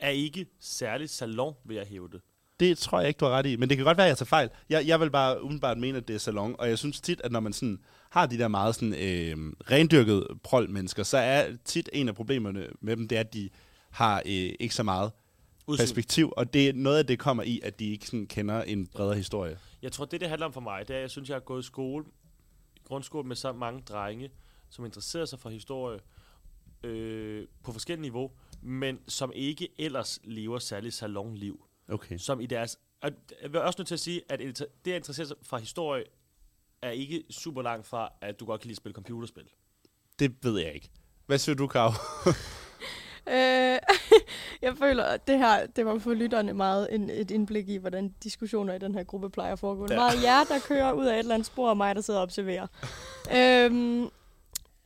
er ikke særlig salon, vil jeg hæve det. Det tror jeg ikke, du har ret i, men det kan godt være, at jeg tager fejl. Jeg, jeg vil bare umiddelbart mene, at det er salon, og jeg synes tit, at når man sådan har de der meget sådan, øh, rendyrkede prol-mennesker, så er tit en af problemerne med dem, det er, at de har øh, ikke så meget Udsyn. perspektiv, og det er noget af det kommer i, at de ikke sådan kender en bredere historie. Jeg tror, det, det handler om for mig, det er, at jeg synes, jeg har gået i skole, i grundskole med så mange drenge, som interesserer sig for historie øh, på forskellige niveau, men som ikke ellers lever særlig salonliv. Okay. Som i deres... Og jeg er også nødt til at sige, at inter- det at interessere sig for historie, er ikke super langt fra, at du godt kan lide at spille computerspil. Det ved jeg ikke. Hvad synes du, Kav? Øh, jeg føler, at det her det var for lytterne meget en, et indblik i, hvordan diskussioner i den her gruppe plejer at foregå. Ja. Meget jer, der kører ud af et eller andet spor, og mig, der sidder og observerer. øhm,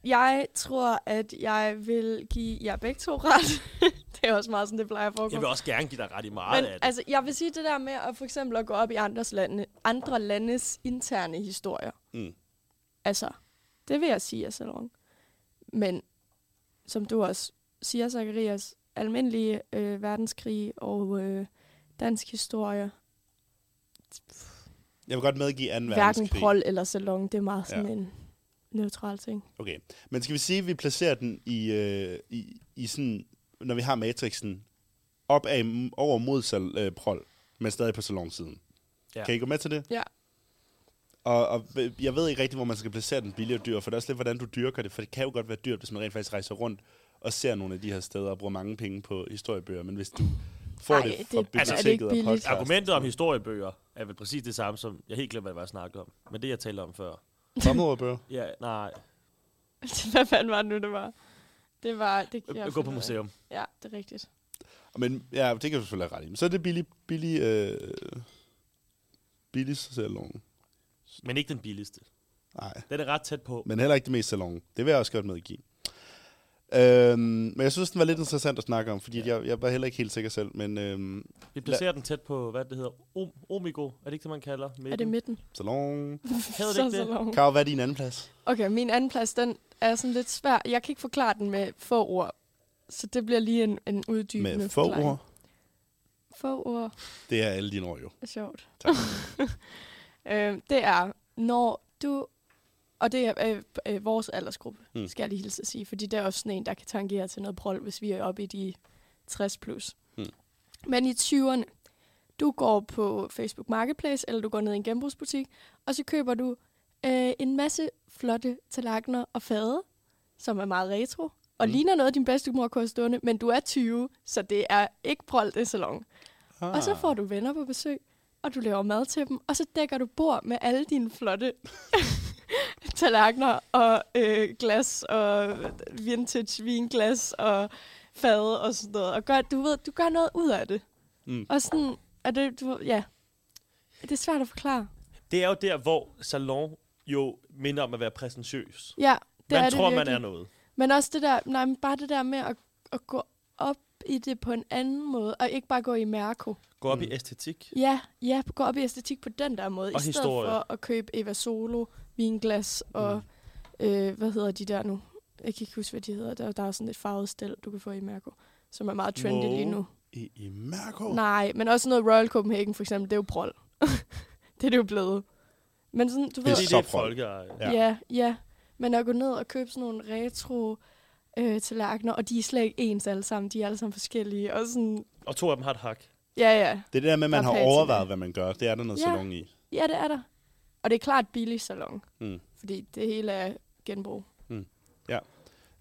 jeg tror, at jeg vil give jer begge to ret. det det er også meget sådan, det plejer at foregå. Jeg vil også gerne give dig ret i meget Men af det. altså, jeg vil sige det der med at for eksempel at gå op i andres lande, andre landes interne historier. Mm. Altså, det vil jeg sige er salon. Men som du også siger, Zacharias, almindelige øh, verdenskrig og øh, dansk historie, Jeg vil godt medgive 2. hverken verdenskrig. prol eller salon, det er meget sådan Ja. ja. en neutral ting. Okay. Men skal vi sige, at vi placerer den i, øh, i, i sådan, når vi har matrixen, op af, over mod sal, øh, prol, men stadig på salonsiden. Ja. Ja. Kan I gå med til det? Ja. Og, og øh, jeg ved ikke rigtig, hvor man skal placere den billige og dyr, for det er også lidt, hvordan du dyrker det, for det kan jo godt være dyrt, hvis man rent faktisk rejser rundt og ser nogle af de her steder og bruger mange penge på historiebøger, men hvis du får Ej, det det- fra altså, er det biblioteket ikke og billigt? podcast... Argumentet om historiebøger er vel præcis det samme som... Jeg er helt glemt, hvad det var, jeg snakkede om. Men det, jeg talte om før. Områdebøger. Ja, nej. Hvad fanden var det nu, det var? Det var... Det, kan Jeg øh, Gå finde på ud af. museum. Ja, det er rigtigt. Men ja, det kan du selvfølgelig have ret i. Men så er det billig, billig, øh, billig salon. Men ikke den billigste. Nej. Den er ret tæt på. men heller ikke det mest salon. Det vil jeg også godt medgive. Øhm, men jeg synes, den var lidt interessant at snakke om, fordi at jeg, jeg var heller ikke helt sikker selv, men øhm, Vi placerer den tæt på, hvad det hedder, Om- Omigo. Er det ikke det, man kalder? Midten? Er det midten? salon... Hedder det ikke det? salon. Karo, hvad er din anden plads? Okay, min anden plads, den er sådan lidt svær. Jeg kan ikke forklare den med få ord. Så det bliver lige en, en uddybende Med få forklaring. ord. Få ord Det er alle dine ord jo. er sjovt. Tak. øh, det er, når du... Og det er øh, øh, vores aldersgruppe, Mm. mm. skal jeg lige hilse at sige. Fordi det er også sådan en, der kan tangere til noget prol, hvis vi er oppe i de 60 plus. Mm. Men i 20'erne, du går på Facebook Marketplace, eller du går ned i en genbrugsbutik, og så køber du øh, en masse flotte tallerkener og fade, som er meget retro, og Mm. mm. ligner noget, din bedstemor kunne have stående, men du er 20, så det er ikke prol, det er salon. Og Ah. så får du venner på besøg, og du laver mad til dem, og så dækker du bord med alle dine flotte tallerkener og øh, glas og vintage vinglas og fade og sådan noget. Og gør, du ved, du gør noget ud af det. Mm. Mm. Og sådan, er det, du, ja, det er svært at forklare. Det er jo der, hvor salon jo minder om at være præsentøs. Ja, det Man er tror, det man virkelig. er noget. Men også det der, nej, men bare det der med at, at gå op i det på en anden måde, og ikke bare gå i mærko. Gå op mm. i æstetik. Ja, ja, gå op i æstetik på den der måde, Og i stedet historie. for at købe Eva Solo, vinglas og, mm. øh, hvad hedder de der nu? Jeg kan ikke huske, hvad de hedder. Der, der er sådan et farvet stel, du kan få i Mærko, som er meget trendy Wow. lige nu. Ah, I, I Mærko? Nej, men også noget Royal Copenhagen for eksempel, det er jo prol. det er det jo blevet. Men sådan, du ved, Fordi det så er øh, prøv. folkeeje. Ja. ja. ja, ja. Men at gå ned og købe sådan nogle retro øh, tallerkener, og de er slet ikke ens alle sammen, de er alle sammen forskellige, og sådan, Og to af dem har et hak. ja, ja. Det er det der med, at man Der har er plads til overvejet, det. hvad man gør. Det er der noget Ja. salon i. Ja, det er der. Og det er klart billig salon. Mm. Fordi det hele er genbrug.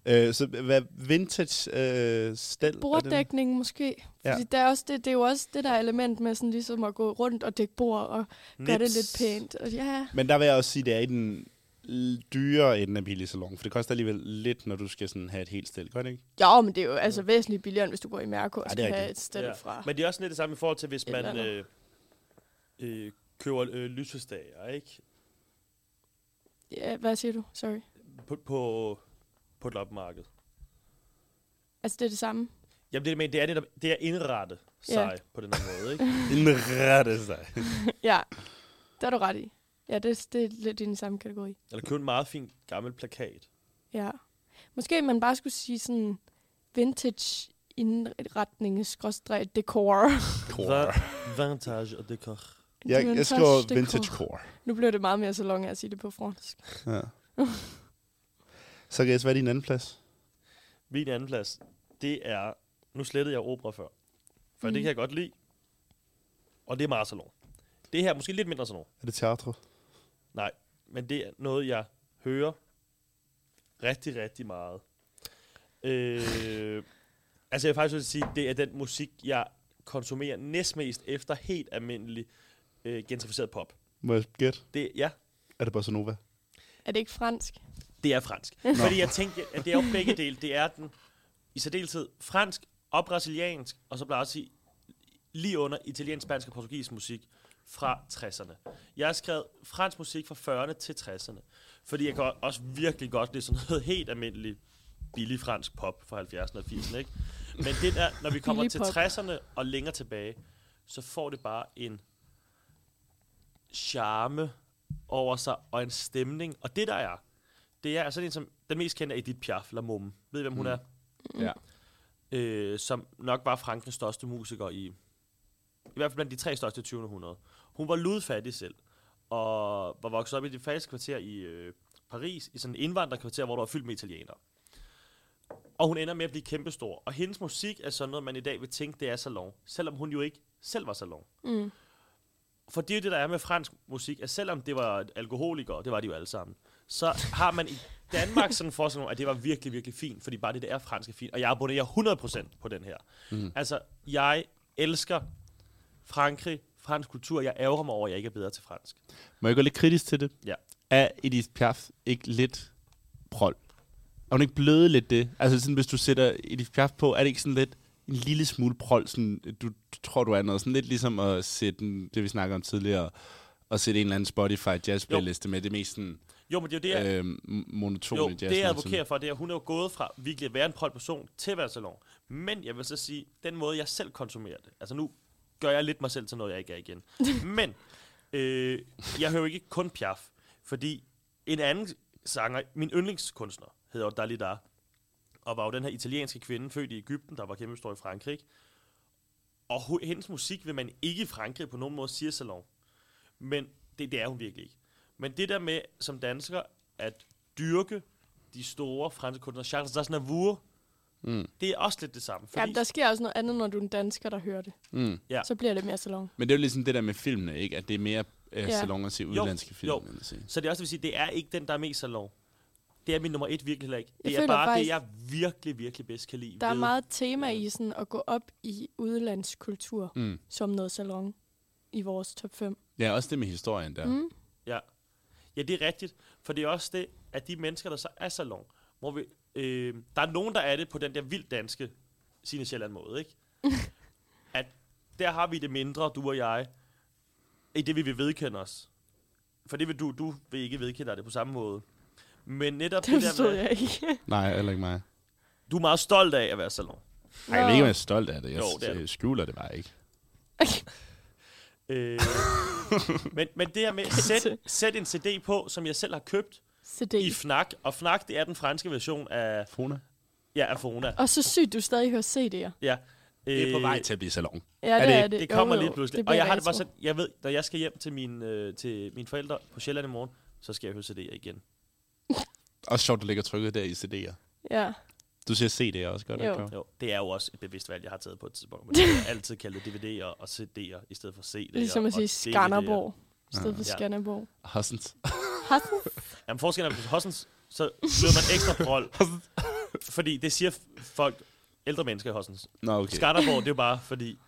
Øh, så hvad vintage øh, stel? Borddækning måske. Ja. Ja. Fordi det er, også det, det er jo også det der element med sådan ligesom at gå rundt og dække bord og gøre det Nips. lidt pænt. Og ja, Men der vil jeg også sige, at det er i den l- dyre ende af billig salon, for det koster alligevel lidt, når du skal sådan have et helt stel, gør det ikke? jo, men det er jo altså væsentligt billigere, end hvis du går i Mærko det og er skal have rigtigt. et sted ja. fra. Men det er også lidt det samme i forhold til, hvis Et man eller øh, andet. øh, køber øh, lysestager, ikke? Ja, hvad siger du? Sorry. På, på, på et loppemarked. Altså, det er det samme. Jamen, det, men det er, netop, det er indrettet sig Ja. på den her måde, ikke? Indrette sig. Ja, det er du ret i. Ja, det, det er lidt i den samme kategori. Eller købe en meget fin gammel plakat. Ja. Måske man bare skulle sige sådan vintage indretning, skråstreg, dekor. Core. Va- Vintage og dekor. Jeg, jeg Vintage skriver decor. vintage core. Nu blev det meget mere salon af at sige det på fransk. Ja. Så Gæs, hvad er din anden plads? Min anden plads, det er... Nu slettede jeg opera før. For mm. det kan jeg godt lide. Og det er meget salon. Det her er måske lidt mindre salon. Er det teatro? Nej, men det er noget, jeg hører rigtig, rigtig meget. Øh, altså, jeg vil faktisk også sige, det er den musik, jeg konsumerer næstmest efter helt almindelig øh, gentrificeret pop. Må jeg gætte? Det, ja, Er det bossa nova? Er det ikke fransk? det er fransk. Fordi jeg tænkte, at det er jo begge dele. Det er den i særdeleshed fransk og brasiliansk, og så bliver jeg også sige, lige under italiensk, spansk og portugisisk musik fra 60'erne. Jeg har skrevet fransk musik fra 40'erne til 60'erne, fordi jeg kan også virkelig godt lide sådan noget helt almindeligt billig fransk pop fra 70'erne og 80'erne, ikke? Men det der, når vi kommer Billig til pop. 60'erne og længere tilbage, så får det bare en charme over sig og en stemning. Og det der er, det er sådan en som, den mest kendte er Edith Piaf, La Mum. Ved I, hvem hun er? Ja. øh, som nok var Frankens største musiker i, i hvert fald blandt de tre største i 20. århundrede. Hun var ludfattig selv, og var vokset op i det fattigste kvarter i øh, Paris, i sådan et indvandrerkvarter, hvor der var fyldt med italienere. Og hun ender med at blive kæmpestor. Og hendes musik er sådan noget, man i dag vil tænke, det er salon. Selvom hun jo ikke selv var salon. Mm. For det er jo det, der er med fransk musik, at selvom det var alkoholikere, det var de jo alle sammen, så har man i Danmark sådan for sådan nogle, at det var virkelig, virkelig fint, fordi bare det, det er fransk er fint. Og jeg abonnerer 100% på den her. Mm. Altså, jeg elsker Frankrig, fransk kultur. Jeg ærger mig over, at jeg ikke er bedre til fransk. Må jeg gå lidt kritisk til det? Ja. Er Edith Piaf ikke lidt prol? Er hun ikke blevet lidt det? Altså sådan, hvis du sætter Edith Piaf på, er det ikke sådan lidt en lille smule prol, sådan, du, du tror, du er noget. Sådan lidt ligesom at sætte den, det, vi snakker om tidligere, og sætte en eller anden Spotify jazz playliste med det mest sådan, Jo, men det er jo det, jeg, ja. øh, monotone Jo, jazz. det jeg advokerer for, det er, at hun er jo gået fra virkelig at være en prold person til at være salon. Men jeg vil så sige, den måde, jeg selv konsumerer det, altså nu gør jeg lidt mig selv til noget, jeg ikke er igen. Men øh, jeg hører jo ikke kun Piaf, fordi en anden sanger, min yndlingskunstner, hedder jo Dalida, og var jo den her italienske kvinde, født i Ægypten, der var kæmpestor i Frankrig. Og hu- hendes musik vil man ikke i Frankrig på nogen måde sige salon. Men det, det er hun virkelig ikke. Men det der med, som dansker, at dyrke de store franske kunstnere, Charles Aznavour, mm. det er også lidt det samme. Fordi, Jamen, der sker også noget andet, når du er en dansker, der hører det. Mm. Ja. Så bliver det mere salon. Men det er jo ligesom det der med filmene, ikke? At det er mere øh, Ja. salon at se udlandske film, jo. end at se. Så det er også, det vil sige, det er ikke den, der er mest salon. Det er min nummer et virkelig heller ikke. Jeg Det er føler bare faktisk- det, jeg virkelig, virkelig bedst kan lide. Der er ved- meget tema i sådan at gå op i udlandskultur mm. som noget salon i vores top 5. Ja, også det med historien der. Mm. Ja. ja, det er rigtigt. For det er også det, at de mennesker, der så er salon, hvor vi, øh, der er nogen, der er det på den der vildt danske Signe Sjælland måde, ikke? at der har vi det mindre, du og jeg, i det, vi vil vedkende os. For det vil du, du vil ikke vedkende dig det på samme måde. Men netop Det det, der forstod med, jeg ikke. Nej, heller ikke mig. du er meget stolt af at være salon. Ej, jeg ved ikke, om jeg er stolt af det. Jeg Jo, det er jo, du. det skjuler det bare ikke. Øh, men, men det her med, sæt, sæt en CD på, som jeg selv har købt CD. i Fnac. Og Fnac, det er den franske version af, Fona? ja, af Fona. Og så sygt, du stadig hører CD'er. Ja. Øh, Det er på vej til at blive salon. Ja, det det er ikke? det. Det kommer Jo, jo. lige pludselig. Det og bliver jeg har det bare retro. sådan, jeg ved, når jeg skal hjem til mine, øh, til mine forældre på Sjælland i morgen, så skal jeg høre CD'er igen. Også sjovt, der ligger trykket der i CD'er. Ja. Du siger CD'er også godt, Jo. ikke? Karo? Jo, det er jo også et bevidst valg, jeg har taget på et tidspunkt. Men jeg har altid kaldet DVD'er og CD'er i stedet for CD'er. Ligesom og at sige DVD'er. Skanderborg. I stedet for Ja. Skanderborg. Hossens. Jamen forskellen er, at på Hossens, så søger man ekstra prol. fordi det siger f- folk, ældre mennesker i Hossens. Nå, okay. Okay. Skanderborg, det er jo bare fordi,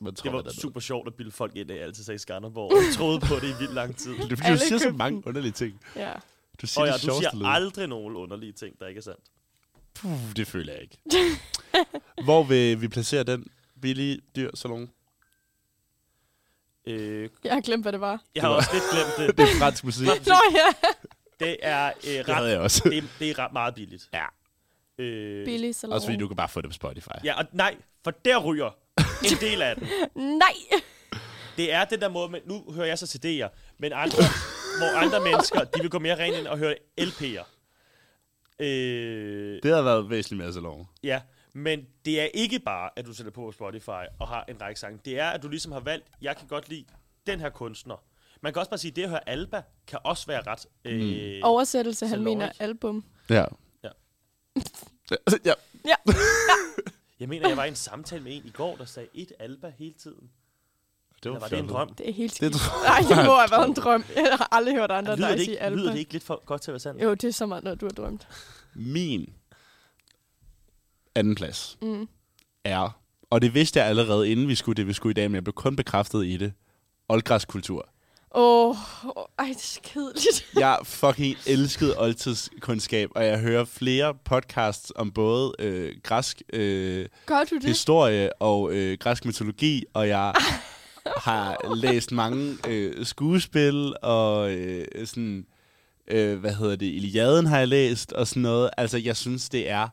Man det tror, var det, super sjovt at bilde folk ind, at jeg altid sagde Skanderborg. Og jeg troede på det i vildt lang tid. det er fordi, du Alle siger så købte mange underlige ting. Ja. Du siger Og ja, de du sjoveste siger aldrig nogen underlige ting, der ikke er sandt. Puh, det føler jeg ikke. Hvor vil vi placere den billige dyr salon? Øh, Jeg har glemt, hvad det var. jeg har også lidt glemt det. Det er fransk musik. Nå ja. Det er, øh, det havde ret, jeg også. det, det er ret meget billigt. Ja. Øh, Billig salon. Også fordi du kan bare få det på Spotify. ja, og nej, for der ryger en del af den. Nej! Det er den der måde, men nu hører jeg så CD'er, men andre, hvor andre mennesker, de vil gå mere rent ind og høre LP'er. Øh, Det har været væsentligt mere salon. ja, men det er ikke bare, at du sætter på Spotify og har en række sange. Det er, at du ligesom har valgt, jeg kan godt lide den her kunstner. Man kan også bare sige, at det at høre Alba kan også være ret... Mm. Øh, Oversættelse, han Salon, mener ikke? album. Ja. Ja. ja. Ja. Jeg mener, jeg var i en samtale med en i går, der sagde et Alba hele tiden. Det Eller var det en drøm? Det er helt Det skidt. Nej, det må have været en drøm. Jeg har aldrig hørt andre Lyder dig det, sige ikke, album. lyder det ikke lidt for godt til at være sandt? Jo, det er så meget noget, du har drømt. Min anden plads mm. er, og det vidste jeg allerede, inden vi skulle det, vi skulle i dag, men jeg blev kun bekræftet i det, oldgræskultur. Åh, oh, oh, ej, det er så kedeligt. Jeg fucking elskede oldtidskundskab, og jeg hører flere podcasts om både øh, græsk øh, Gør du det? historie og øh, græsk mytologi, og jeg har læst mange øh, skuespil og øh, sådan øh, hvad hedder det, Iliaden har jeg læst, og sådan noget. Altså, jeg synes, det er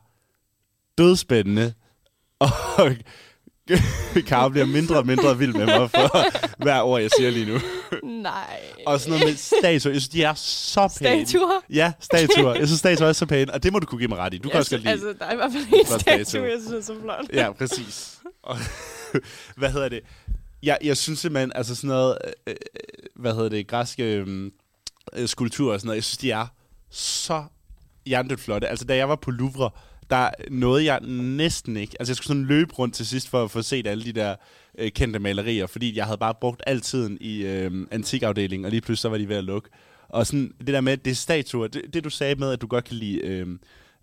dødspændende. Og Karen bliver mindre og mindre vild med mig for hver ord, jeg siger lige nu. Nej. Og sådan noget med statuer. Jeg synes, de er så pæne. Statuer? Ja, statuer. Jeg synes, statuer er så pæne. Og det må du kunne give mig ret i. Du kan også godt lide. Altså, der er i hvert fald en Flot statue, statue. jeg synes er så flot. Ja, præcis. Og, hvad hedder det? Jeg, jeg synes simpelthen, altså sådan noget, øh, øh, hvad hedder det, græske øh, øh, skulpturer og sådan noget, jeg synes, de er så hjernedødt flotte. Altså, da jeg var på Louvre, der nåede jeg næsten ikke. Altså, jeg skulle sådan løbe rundt til sidst for at få set alle de der øh, kendte malerier, fordi jeg havde bare brugt al tiden i øh, antikafdelingen, og lige pludselig så var de ved at lukke. Og sådan det der med, det er statuer, det, det du sagde med, at du godt kan lide øh,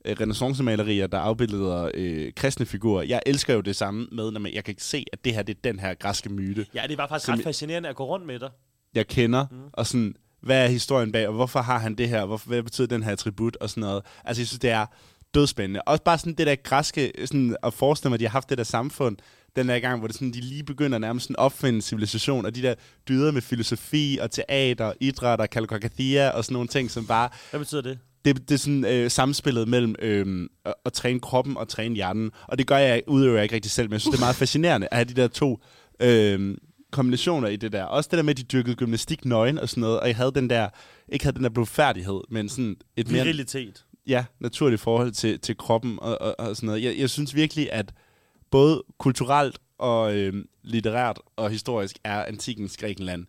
øh, renaissancemalerier, der afbilleder øh, kristne figurer. Jeg elsker jo det samme med, når man, jeg kan se, at det her, det er den her græske myte Ja, det var faktisk Som- ret fascinerende at gå rundt med dig. jeg kender, mm. og sådan, hvad er historien bag, og hvorfor har han det her, hvorfor, hvad betyder den her attribut, og sådan noget. Altså, jeg synes, det er dødspændende. Også bare sådan det der græske, sådan at forestille mig, at de har haft det der samfund, den der gang, hvor det sådan, de lige begynder nærmest sådan at opfinde civilisation, og de der dyder med filosofi og teater, og idræt og kalkokathia og sådan nogle ting, som bare, Hvad betyder det? det, det er sådan øh, samspillet mellem øh, at, at træne kroppen og træne hjernen. Og det gør jeg, udøver jeg ikke rigtig selv, men jeg synes, det er meget fascinerende at have de der to øh, kombinationer i det der. Også det der med, at de dyrkede gymnastik nøgen og sådan noget, og jeg havde den der, ikke havde den der blodfærdighed, men sådan et mere Virilitet. ja, naturligt forhold til, til kroppen og, og, og sådan noget. Jeg, jeg synes virkelig, at både kulturelt og øh, litterært og historisk er antikens Grækenland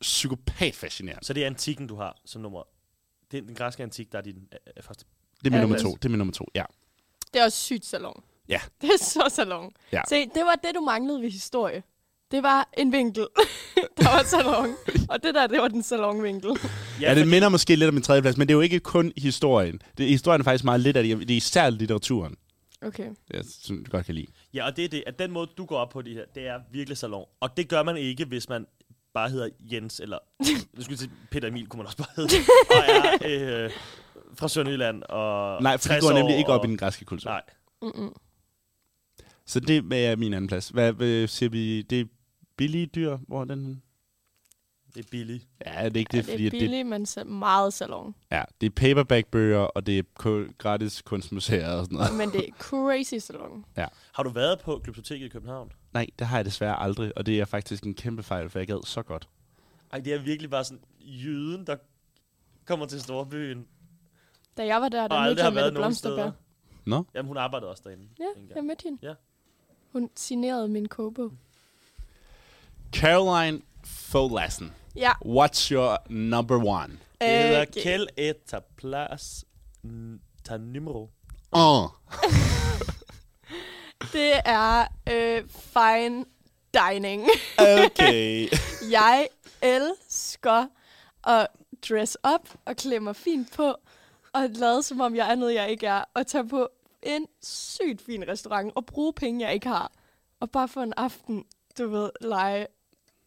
psykopat fascinerende. Så det er antikken, du har som nummer. Det er den græske antik, der er din øh, første. Det er min Ja, nummer det- to. Det er min nummer to, ja. Det er også sygt salon. Ja. Det er så salon. Ja. Se, det var det, du manglede ved historie. Det var en vinkel. der var salon. Og det der, det var den salonvinkel. Ja, ja det minder måske lidt om en tredjeplads, men det er jo ikke kun historien. Det, historien er faktisk meget lidt af det. Det er især litteraturen, Okay. jeg synes, godt kan lide. Ja, og det er det, at den måde, du går op på det her, det er virkelig salon. Og det gør man ikke, hvis man bare hedder Jens, eller nu skulle jeg sige, Peter Emil, kunne man også bare hedde, og er øh, fra Sønderjylland, og Nej, for det 60 går år, nemlig ikke op og- i den græske kultur. Nej, Så det er min anden plads. Hvad øh, siger vi? Det er billige dyr? Hvor er den? henne? det er billigt. Ja, det er ikke det, ja, Ja, fordi det er at det, billigt, men sa- meget salon. ja, det er paperbackbøger, og det er ko- gratis kunstmuseer og sådan noget. Men det er crazy salon. Har du været på Glyptoteket i København? Nej, det har jeg desværre aldrig, og det er faktisk en kæmpe fejl, for jeg gad så godt. Ej, det er virkelig bare sådan jyden, der kommer til Storbyen, Da jeg var der, og der mødte aldrig har jeg Mette været nogen steder. Blomsterbær. Nå? Jamen, hun arbejdede også derinde. en Ja, gang. jeg mødte hende. Ja. Hun signerede min kobo. Caroline Folassen, Ja. øh, what's your number one? Det hedder Okay. Kjell Eta Plads mm, Ta Nimro. Åh, oh, Det er øh, fine dining. okay. Jeg elsker at dress up og klæde mig fint på, og lade som om jeg er noget, jeg ikke er, og tage på en sygt fin restaurant og bruge penge, jeg ikke har. Og bare for en aften, du ved, lege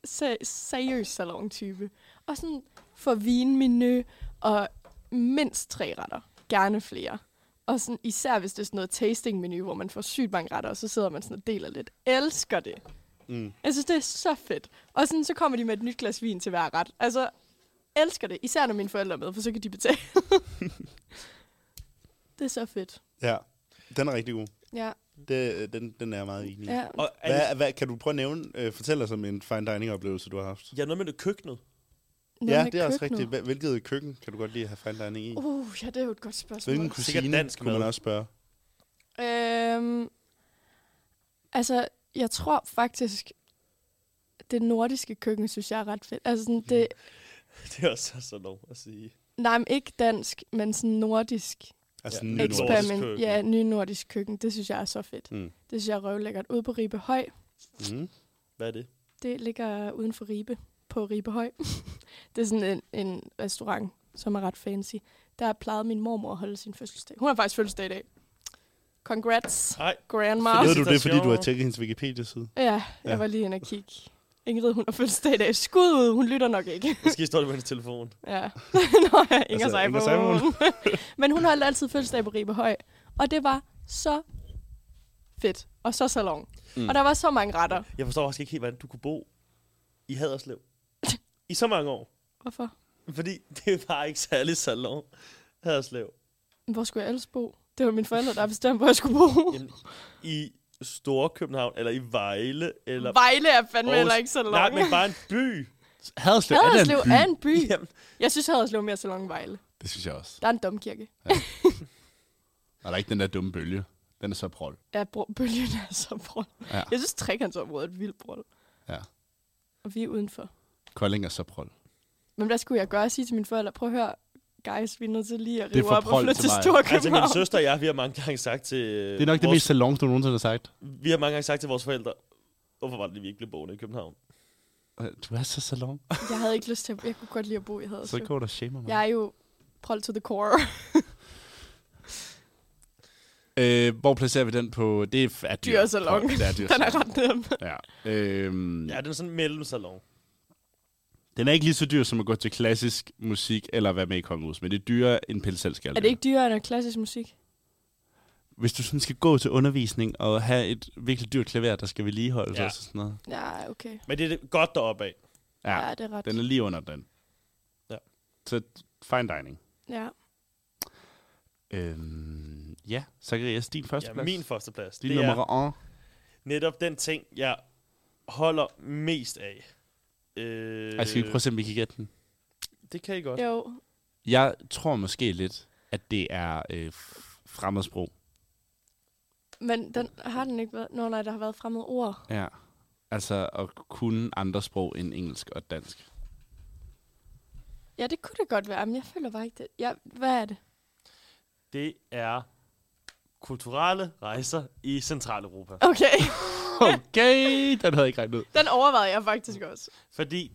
se- seriøs salon-type. Og sådan få vinmenu og mindst tre retter. Gerne flere. Og sådan, især hvis det er sådan noget tasting-menu, hvor man får sygt mange retter, og så sidder man sådan og deler lidt. Elsker det. Jeg synes, det er så fedt. Og sådan, så kommer de med et nyt glas vin til hver ret. Altså, elsker det. Især når mine forældre er med, for så kan de betale. det er så fedt. Ja, den er rigtig god. Ja, Det, Øh, den, den er jeg meget enig i. ja. Og er det, Hvad, hvad, kan du prøve at nævne, øh, fortælle os om en fine dining oplevelse, du har haft? ja, noget med det køkkenet. Noget ja, med det er også køkkenet. rigtigt. Hvil- Hvilket køkken kan du godt lide at have fine dining i? Uh, ja, det er jo et godt spørgsmål. Hvilken Sikkert kusine, dansk dansk kunne man mad. også spørge. Øhm, altså, jeg tror faktisk, det nordiske køkken, synes jeg er ret fedt. Altså, sådan, det, Det er også så lov at sige. Mm-hmm. nej, men ikke dansk, men sådan nordisk. Altså, ja. Ja. Nynordisk eksperiment. køkken. Ja, ny nordisk køkken. Det synes jeg er så fedt. Mm. Mm. Det synes jeg er røvlækkert. Ude på Ribehøj, Mm. Hvad er det? Det ligger uden for Ribe, på Ribehøj. det er sådan en, en restaurant, som er ret fancy. Der plejede min mormor at holde sin fødselsdag. Hun har faktisk fødselsdag i dag. Congrats, Nej, grandma. Fedt. Ved du det, fordi du har Citation. tjekket hendes Wikipedia-side? Ja, jeg Ja. var lige inde og kigge. Ingrid, hun har fødselsdag i dag. Skud ud, hun lytter nok ikke. måske står det på hendes telefon. Ja. Nå ja, Ingers Altså, altså, Ingers iPhone. Men hun holdt altid fødselsdag på Ribehøj. Og det var så fedt. Og så salon. Mm. Og der var så mange retter. Jeg forstår faktisk ikke helt, hvordan du kunne bo i Haderslev. I så mange år. Hvorfor? Fordi det er bare ikke særlig salon. Haderslev. Hvor skulle jeg ellers bo? Det var mine forældre, der bestemte, hvor jeg skulle bo. Jamen, I Storkøbenhavn, eller i Vejle, eller... Vejle er fandme Aarhus. heller ikke salon. Nej, men bare en by. Haderslev, Haderslev er er en by? en by. Jamen, Jeg synes, Haderslev er mere salon end Vejle. Det synes jeg også. Der er en domkirke. Og der er ikke den der dumme bølge. Den er så prol. Ja, bro, bølgen er så brød. Ja. Ja. Jeg synes, trekantsområdet er et vildt brød. Ja. Og vi er udenfor. Kolding er så prol. Men hvad skulle jeg gøre? Sige til mine forældre, prøv at høre, guys, vi er nødt til lige at Det er rive for op og prol flytte til til mig. altså, min Storkøbenhavn. søster og jeg, vi har mange gange sagt til... øh, Det er nok det vores, mest salon, du nogensinde har sagt. Vi har mange gange sagt til vores forældre, hvorfor var det, lige, vi ikke blev boende i København? Øh, Du er så salon. Jeg havde ikke lyst til at... Jeg kunne godt lide at bo i Så Haderslev. går du og shamer mig. Jeg er jo prol to the core. Øh, hvor placerer vi den på? Det er, f- er dyr. Dyr salon. Prol. Det er dyr Den er salon. ret nem. Ja. Øhm, Ja, den er sådan en mellemsalon. Den er ikke lige så dyr som at gå til klassisk musik eller være med i kongehus, men det er dyrere end pilselskal. Er det ikke dyrere end klassisk musik? Hvis du sådan skal gå til undervisning og have et virkelig dyrt klaver, der skal vedligeholdes Ja. ja. og sådan noget. Ja, okay. Men det er det- godt deroppe af. Ja, det er ret. Den er lige under den. Ja. Så fine dining. Ja. Øhm, ja, Zacharias, din første Ja, plads. min førsteplads. Din det er nummer 1. netop den ting, jeg holder mest af. Øh, Øh. Skal vi prøve at se, om vi kan gætte den? Det kan I godt. Jo. Jeg tror måske lidt, at det er øh, f- fremmedsprog. Men den, har den ikke været... Nå nej, der har været fremmede ord. Ja. Altså at kunne andre sprog end engelsk og dansk. Ja, det kunne det godt være, men jeg føler bare ikke det. Ja, hvad er det? Det er kulturelle rejser i Centraleuropa. Okay, Okay, den havde jeg ikke regnet ud. den overvejede jeg faktisk Mm. også. Fordi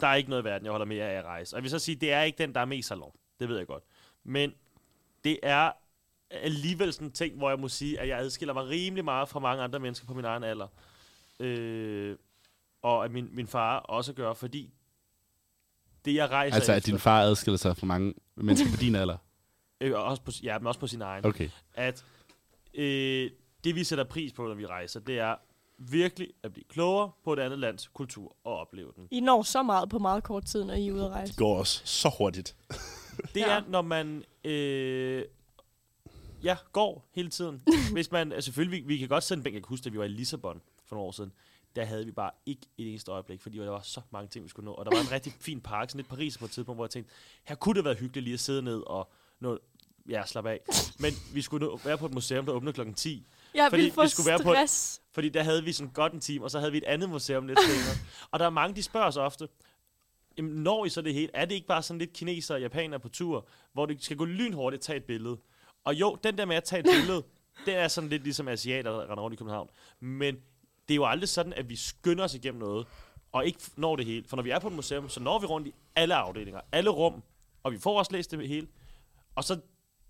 der er ikke noget i verden, jeg holder mere af at rejse. Og jeg vil så sige, det er ikke den, der er mest salon. Det ved jeg godt. Men det er alligevel sådan en ting, hvor jeg må sige, at jeg adskiller mig rimelig meget fra mange andre mennesker på min egen alder. Øh, og at min, min far også gør, fordi det, jeg rejser Altså, at efter, din far adskiller sig fra mange mennesker på din alder. øh, og også på, ja, men også på sin egen, Okay. at øh, det, vi sætter pris på, når vi rejser, det er virkelig at blive klogere på et andet lands kultur og opleve den. I når så meget på meget kort tid, når I er ude at rejse. går også så hurtigt. Det Ja. er, når man øh, ja, går hele tiden. Hvis man, altså selvfølgelig, vi, vi kan godt sende bænk. Jeg kan huske, da vi var i Lissabon for nogle år siden, der havde vi bare ikke et eneste øjeblik, fordi der var så mange ting, vi skulle nå. Og der var en rigtig fin park, sådan lidt Paris på et tidspunkt, hvor jeg tænkte, her kunne det være hyggeligt lige at sidde ned og nå, ja, slappe af. Men vi skulle nå, være på et museum, der åbnede klokken 10. Jeg Fordi ville få det skulle være på- stress. Fordi der havde vi sådan godt en time, og så havde vi et andet museum lidt senere. og der er mange, de spørger så ofte, "Jamen, når I så det hele, er det ikke bare sådan lidt kinesere og japanere på tur, hvor det skal gå lynhurtigt at tage et billede? Og jo, den der med at tage et billede, det er sådan lidt ligesom asiater, der render rundt i København. Men det er jo aldrig sådan, at vi skynder os igennem noget, og ikke f- når det hele. For når vi er på et museum, så når vi rundt i alle afdelinger, alle rum, og vi får også læst det hele. Og så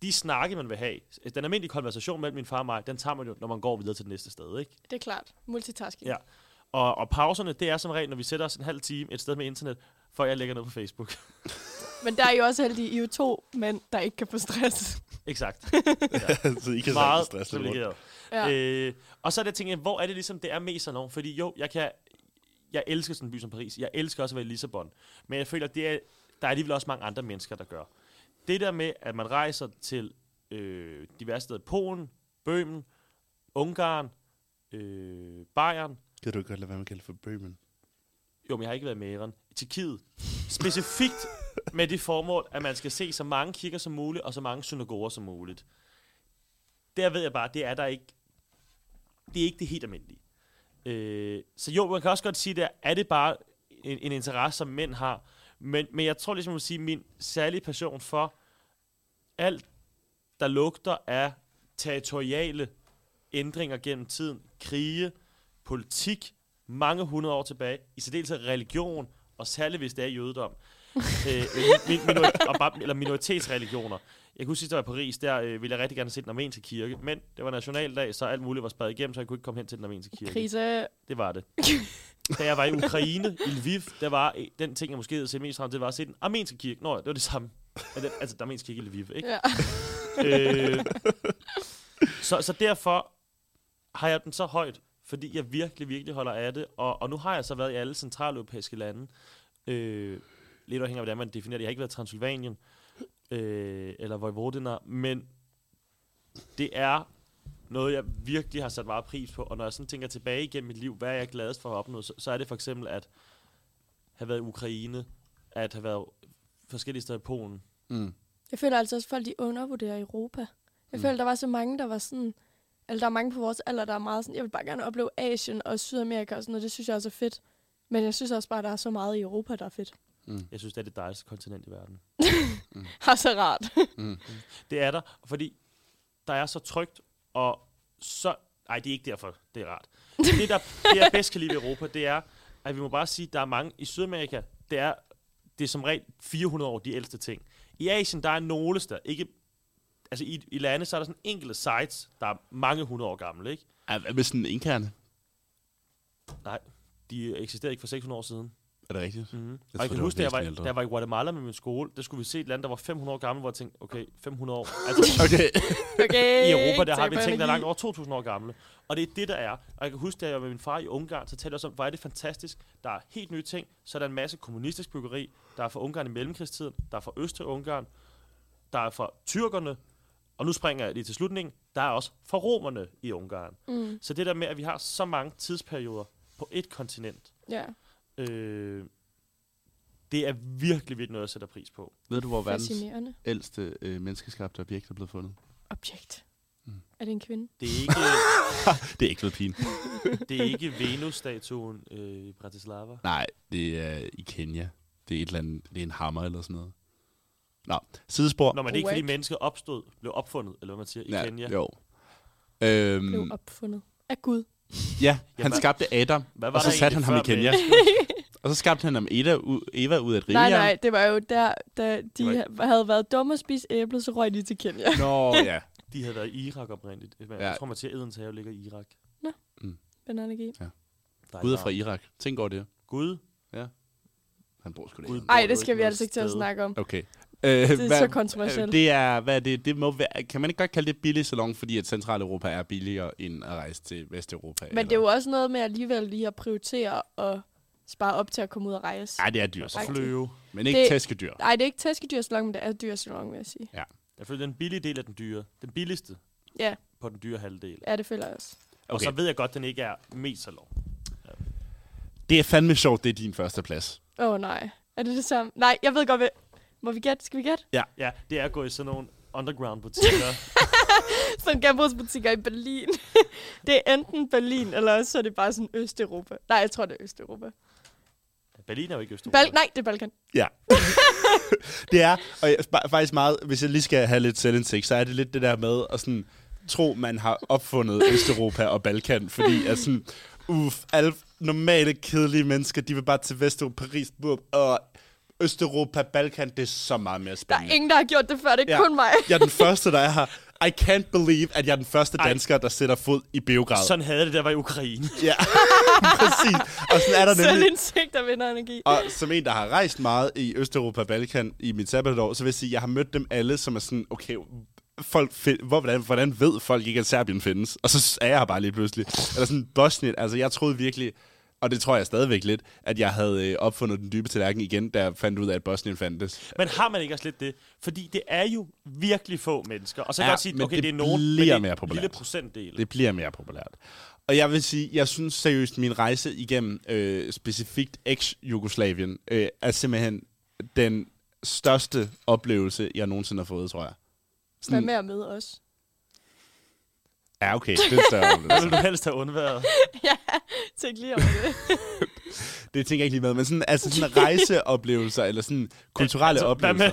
de snakke, man vil have. Den almindelige konversation mellem min far og mig, den tager man jo, når man går videre til det næste sted, ikke? Det er klart. Multitasking. Ja. Og, og pauserne, det er som regel, når vi sætter os en halv time et sted med internet, for jeg lægger noget på Facebook. Men der er I også heldige. I er jo to mænd, der ikke kan få stress. Exakt. så Altså, I kan Meget stress privilegeret. Ja. Øh. Øh, og så er det, jeg tænker, hvor er det ligesom, det er mest sådan nogen? Fordi jo, jeg kan... Jeg elsker sådan en by som Paris. Jeg elsker også at være i Lissabon. Men jeg føler, det er, der er alligevel også mange andre mennesker, der gør. Det der med, at man rejser til øh, diverse steder. Polen, Bøhmen, Ungarn, øh, Bayern, Kan du ikke godt lade være med at kalde for Bremen? Jo, men jeg har ikke været med i Iran. I Tjekkiet. Specifikt med det formål, at man skal se så mange kirker som muligt, og så mange synagoger som muligt. Der ved jeg bare, det er der ikke... Det er ikke det helt almindelige. Øh, så jo, man kan også godt sige, der er det bare en, en interesse, som mænd har. Men, men jeg tror ligesom, at sige, min særlige passion for alt, der lugter af territoriale ændringer gennem tiden, krige, politik, mange hundrede år tilbage, i særdeleshed religion, og særligt hvis det er jødedom, øh, min, minor, og bare, eller minoritetsreligioner. Jeg kunne sidst, jeg var i Paris, der øh, ville jeg rigtig gerne se den armenske kirke, men det var nationaldag, så alt muligt var spadet igennem, så jeg kunne ikke komme hen til den armenske kirke. Krise. Det var det. da jeg var i Ukraine, i Lviv, der var øh, den ting, jeg måske havde set mest frem til, var at se den armenske kirke. Nå ja, det var det samme. Ja, den- Altså, den armenske kirke i Lviv, ikke? Ja. øh, så, så derfor har jeg den så højt, fordi jeg virkelig, virkelig holder af det. Og, og nu har jeg så været i alle centraleuropæiske lande. Øh, lidt afhængig af, hvordan man definerer det. Jeg har ikke været i Transylvanien øh, eller Vojvodina, men det er noget, jeg virkelig har sat meget pris på. Og når jeg sådan tænker tilbage igennem mit liv, hvad er jeg gladest for at have opnået, så, så er det for eksempel at have været i Ukraine, at have været forskellige steder i Polen. Mm. Jeg føler altså også, at folk de undervurderer Europa. Jeg mm. føler, der var så mange, der var sådan... Eller der er mange på vores alder, der er meget sådan... Jeg vil bare gerne opleve Asien og Sydamerika og sådan noget. Det synes jeg også er fedt. Men jeg synes også bare, at der er så meget i Europa, der er fedt. Jeg synes, det er det dejligste kontinent i verden. Har så rart. Det er der, fordi der er så trygt, og så... Nej, det er ikke derfor, det er rart. Det, der, det jeg bedst kan lide ved Europa, det er, at vi må bare sige, at der er mange... I Sydamerika, det er, det er som regel 400 år de ældste ting. I Asien, der er nogle steder, ikke... Altså i, i lande, så er der sådan enkelte sites, der er mange hundrede år gamle, ikke? Ej, hvad med sådan en indkærne? Nej, de eksisterede ikke for 600 år siden. Er det rigtigt? Mm. tror, Jeg, og jeg det kan var huske, da jeg, var, væsentligt ældre. da jeg var i Guatemala med min skole, der skulle vi se et land, der var 500 år gammel, hvor jeg tænkte, okay, 500 år. Altså, Okay. Okay. I Europa, der har tak vi for ting, der er langt energi. over 2.000 år gamle. Og det er det, der er. Og jeg kan huske, da jeg var med min far i Ungarn, så talte jeg også om, hvor er det fantastisk. Der er helt nye ting. Så er der en masse kommunistisk byggeri. Der er fra Ungarn i mellemkrigstiden. Der er fra Østrig-Ungarn. Der er fra tyrkerne. Og nu springer jeg lige til slutningen. Der er også fra romerne i Ungarn. Mm. Så det der med, at vi har så mange tidsperioder på et kontinent, Ja. øh, det er virkelig, virkelig noget, jeg sætter pris på. Ved du, hvor verdens Fascinerende. ældste øh, menneskeskabte objekt er blevet fundet? Objekt. Er det en kvinde? Det er ikke, Det er ikke blevet pin. det er ikke Venus-statuen øh, i Bratislava. Nej, det er i Kenya. Det er, et eller andet, det er en hammer eller sådan noget. Nå, sidespor. Når man ikke, fordi Whack. mennesket opstod, blev opfundet, eller hvad man siger, i ja, Kenya. Jo. Blev Øhm, opfundet af Gud. ja, han hvad- skabte Adam, Hvad var og så der satte han egentlig ham i før Kenya. og så skabte han ham Eda, u- Eva ud af et Nej, rige. nej, det var jo der, da de var ha- havde været dumme at spise æblet, så røg de til Kenya. Nå, ja. med- De havde været i Irak oprindeligt. Jeg Ja. ja. tror, man siger, Edens have ligger i Irak. Banana G. Der er Gud er Irak. fra Irak. Tænk over det. Gud. Han bor sgu da. Gud ikke. Ej, bor det jo skal vi noget altså ikke til at sted. snakke om. Okay. Øh, det er så kontroversielt. Det er, hvad er det, det må være, kan man ikke godt kalde det billig salon, fordi at Centraleuropa er billigere end at rejse til Vesteuropa? Men det er jo også noget med alligevel lige at prioritere og spare op til at komme ud og rejse. Nej, det er dyrt. Og fløve. Men ikke det... Det- tæskedyr. Nej, det er ikke tæskedyrsalon, men det er dyrsalon, vil jeg sige. Jeg føler, den billige del af den dyre. Den billigste Ja, på den dyre halvdel. ja det føler jeg også. Okay. Og Okay. så ved jeg godt, den ikke er mest så lov. Det er fandme sjovt, det er din første plads. Åh oh, nej, er det det samme? Nej, jeg ved godt, hvad... Må vi gætte? Skal vi gætte? Ja, det er at gå i sådan nogle underground butikker. Sådan genbrugsbutikker i Berlin. det er enten Berlin, eller også så er det bare sådan Østeuropa. Nej, jeg tror, det er Østeuropa. Berlin er jo ikke Østeuropa. Bal- nej, det er Balkan. Ja. det er, og jeg, fa- faktisk meget, hvis jeg lige skal have lidt selvindsigt, så er det lidt det der med at sådan, tro, man har opfundet Østeuropa og Balkan, fordi at sådan, uff, alle normale, kedelige mennesker, de vil bare til Vesteuropa, Paris, Burg, og Østeuropa, Balkan, det er så meget mere Der er spændende. ingen, der har gjort det før. Det er ja. kun mig. jeg er den første, der er her. I can't believe, at jeg er den første Ej. dansker, der sætter fod i Beograd. Sådan havde det, der var i Ukraine. Ja, præcis. Og sådan er der nemlig... Selvindsigt og vinder energi. Og som en, der har rejst meget i Østeuropa og Balkan i mit sabbatår, så vil jeg sige, at jeg har mødt dem alle, som er sådan, okay, folk find, hvor, hvordan, hvordan ved folk ikke, at Serbien findes? Og så er jeg her bare lige pludselig. Eller sådan Bosnien, altså jeg troede virkelig, og det tror jeg stadigvæk lidt, at jeg havde øh, opfundet den dybe tallerken igen, da jeg fandt ud af, at Bosnien fandtes. Men har man ikke også lidt det? Fordi det er jo virkelig få mennesker. Og så kan Ja, jeg godt sige, men okay, det det, er nogen, bliver men det er mere en populært. lille procentdel. Det bliver mere populært. Og jeg vil sige, jeg synes seriøst, min rejse igennem øh, specifikt ex-Jugoslavien øh, er simpelthen den største oplevelse, jeg nogensinde har fået, tror jeg. Hvad med at møde os? Ja, okay. Det er større Hvad vil oplevelse. du helst have undværet? Tænk lige om det. Det tænker jeg ikke lige med. Men sådan, altså sådan rejseoplevelser, eller sådan kulturelle altså, Hvad oplevelser.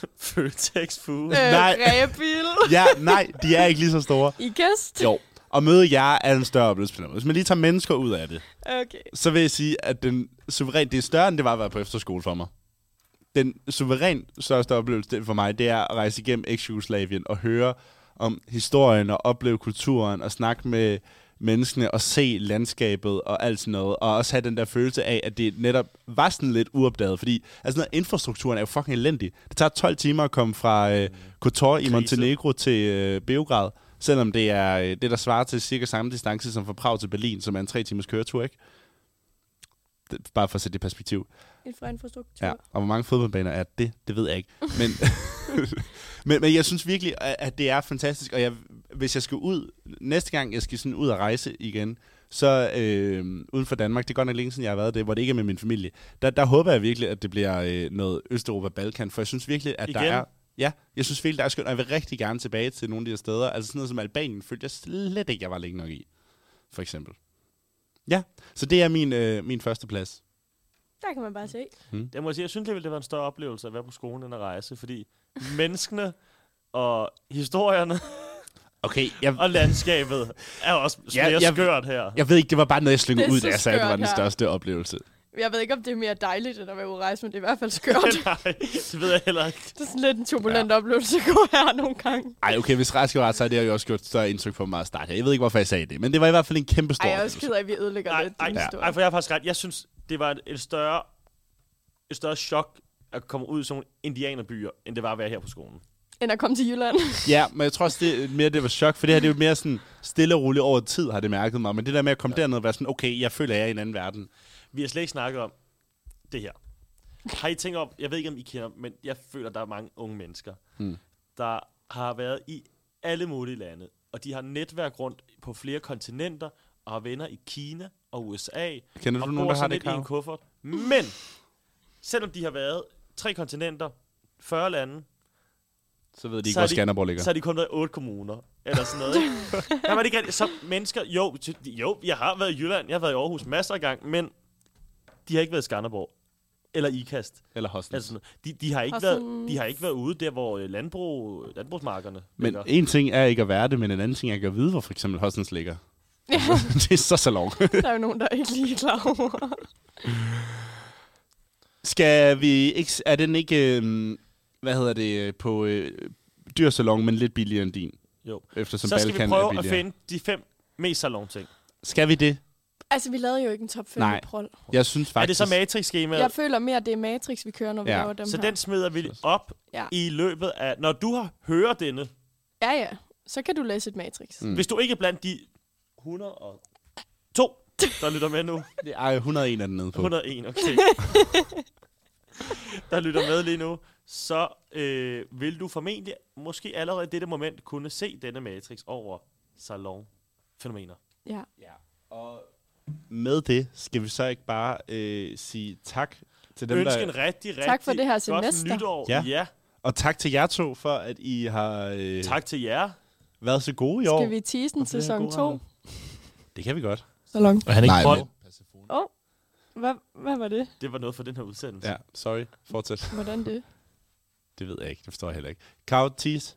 med Føtex Food? øh, Nej. Ræbil. Ja, nej, de er ikke lige så store. I gæst. Jo. Og møde jer er en større oplevelse. på den måde. Hvis man lige tager mennesker ud af det, Okay. så vil jeg sige, at den suveræn, det er større, end det var at være på efterskole for mig. Den suveræn største oplevelse det for mig, det er at rejse igennem ex-Jugoslavien og høre om historien og opleve kulturen og snakke med menneskene og se landskabet og alt sådan noget. Og også have den der følelse af, at det netop var sådan lidt uopdaget, fordi altså noget, infrastrukturen er jo fucking elendig. Det tager 12 timer at komme fra øh, Kotor i Montenegro til øh, Beograd, selvom det er øh, det, der svarer til cirka samme distance som fra Prag til Berlin, som er en tre timers køretur, ikke? Det- Bare for at sætte det i perspektiv. Infrastruktur. Ja. Og hvor mange fodboldbaner er det? Det ved jeg ikke. Men, men, men jeg synes virkelig, at at det er fantastisk. Og jeg, hvis jeg skal ud, næste gang jeg skal sådan ud og rejse igen, så øh, uden for Danmark, det er godt nok længe siden, jeg har været det, hvor det ikke er med min familie, der, der håber jeg virkelig, at det bliver øh, noget Østeuropa-Balkan, for jeg synes virkelig, at der Igen? er... Ja, jeg synes virkelig, der er skønt, og jeg vil rigtig gerne tilbage til nogle af de her steder. Altså sådan noget som Albanien følte jeg slet ikke, jeg var længe nok i, for eksempel. Ja, så det er min, øh, min første plads. Der kan man bare se. Jeg må sige, jeg synes, det ville være en større oplevelse at være på skolen end at rejse, fordi menneskene og historierne Okay, jeg, og landskabet er også mere jeg- skørt her. Jeg ved ikke, det var bare noget, jeg Det slyngede er ud, så da jeg sagde, at det var skørt den her. største oplevelse. Jeg ved ikke, om det er mere dejligt, end at være ude at rejse, men det er i hvert fald skørt. Nej, det ved jeg heller ikke. det er sådan lidt en turbulent ja. oplevelse at gå her nogle gange. Ej, okay, hvis Rask var ret, så har det jo også gjort større indtryk på mig at starte her. Jeg ved ikke, hvorfor jeg sagde det, men det var i hvert fald en kæmpe stor Ej, jeg er også oplevelse. ked af, at vi ødelægger Nej, lidt. ej, din historie. ej, for jeg har faktisk ret. Jeg synes, det var et, et større, et større chok at komme ud i sådan nogle indianerbyer, end det var at være her på skolen. End at komme til Jylland. Ja, men jeg tror også, det er mere, det var chok, for det her det er jo mere sådan stille og roligt over tid, har det mærket mig. Men det der med at komme ja. derned og være sådan, okay, jeg føler, jeg er i en anden verden. Vi har slet ikke snakket om det her. Har I tænkt om, jeg ved ikke, om I kender, men jeg føler, der er mange unge mennesker, Mm. der har været i alle mulige lande, og de har netværk rundt på flere kontinenter, og har venner i Kina og USA, Kender og du bor nogen, der har sådan det, lidt i en Karo? kuffert. Men, selvom de har været tre kontinenter, 40 lande, Så ved de ikke, så er hvor de- Skanderborg ligger. så har de kun været i otte kommuner, eller sådan noget. ikke? Nej, men det kan, så mennesker, jo, ty- jo, jeg har været i Jylland, jeg har været i Aarhus masser af gang, men de har ikke været i Skanderborg, eller IKAST. Eller Hosten. Altså, sådan noget. de, de, har ikke Og været, sådan- de har ikke været ude der, hvor øh, landbrug, landbrugsmarkerne Men ligger. en ting er ikke at være det, men en anden ting er ikke at vide, hvor for eksempel Hostens ligger. ja, det er så så lov. der er jo nogen, der ikke lige er klar over. Skal vi ikke... Er den ikke... Øh, hvad hedder det? øh, På øh, dyr salon, men lidt billigere end din? Jo. Eftersom Så skal Balkan vi er prøve at billigere. finde de fem mest salon-ting. Skal vi det? Altså, vi lavede jo ikke en top 5 Nej. i prol. Jeg synes Er faktisk... det så matrix-skemaet? Jeg føler mere, at det er Matrix, vi kører, når vi Ja. laver dem Så her. den smider vi op Ja. i løbet af... Når du har hører denne, mm. Ja, ja. Så kan du læse et Matrix. Mm. hvis du ikke er blandt de 102, der lytter med nu. det? Ej, 101 er den nede på. 101, okay. der lytter med lige nu. Så øh, vil du formentlig, måske allerede i dette moment, kunne se denne matrix over salon-fænomener. Ja. Med det skal vi så ikke bare øh, sige tak til dem, Ønske der... en rigtig, rigtig Tak for det her godt semester. nytår. Ja. Ja. ja. Og tak til jer to for, at I har øh, Tak til jer. været så gode i år. Skal vi tease den sæson 2? Det kan vi godt. Salon. Og han er Nej, ikke Nej, Åh, oh. hvad, hvad var det? Det var noget for den her udsendelse. Ja, sorry. Fortsæt. Hvordan det? Det ved jeg ikke. Det forstår jeg heller ikke. Kav, tis.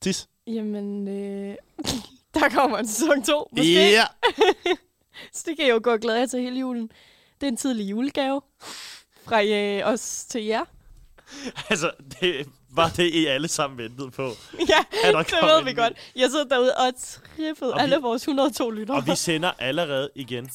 Tis. Jamen, øh, der kommer en sæson 2, måske. Ja. Så det kan jeg jo gå og glæde jer til hele julen. Det er en tidlig julegave fra øh, os til jer. Altså, det var det, I alle sammen ventede på. Ja, Er der det kommet ved en vi ny? godt. Jeg sidder derude og trippede Og vi- alle vores 102 lyttere. Og vi sender allerede igen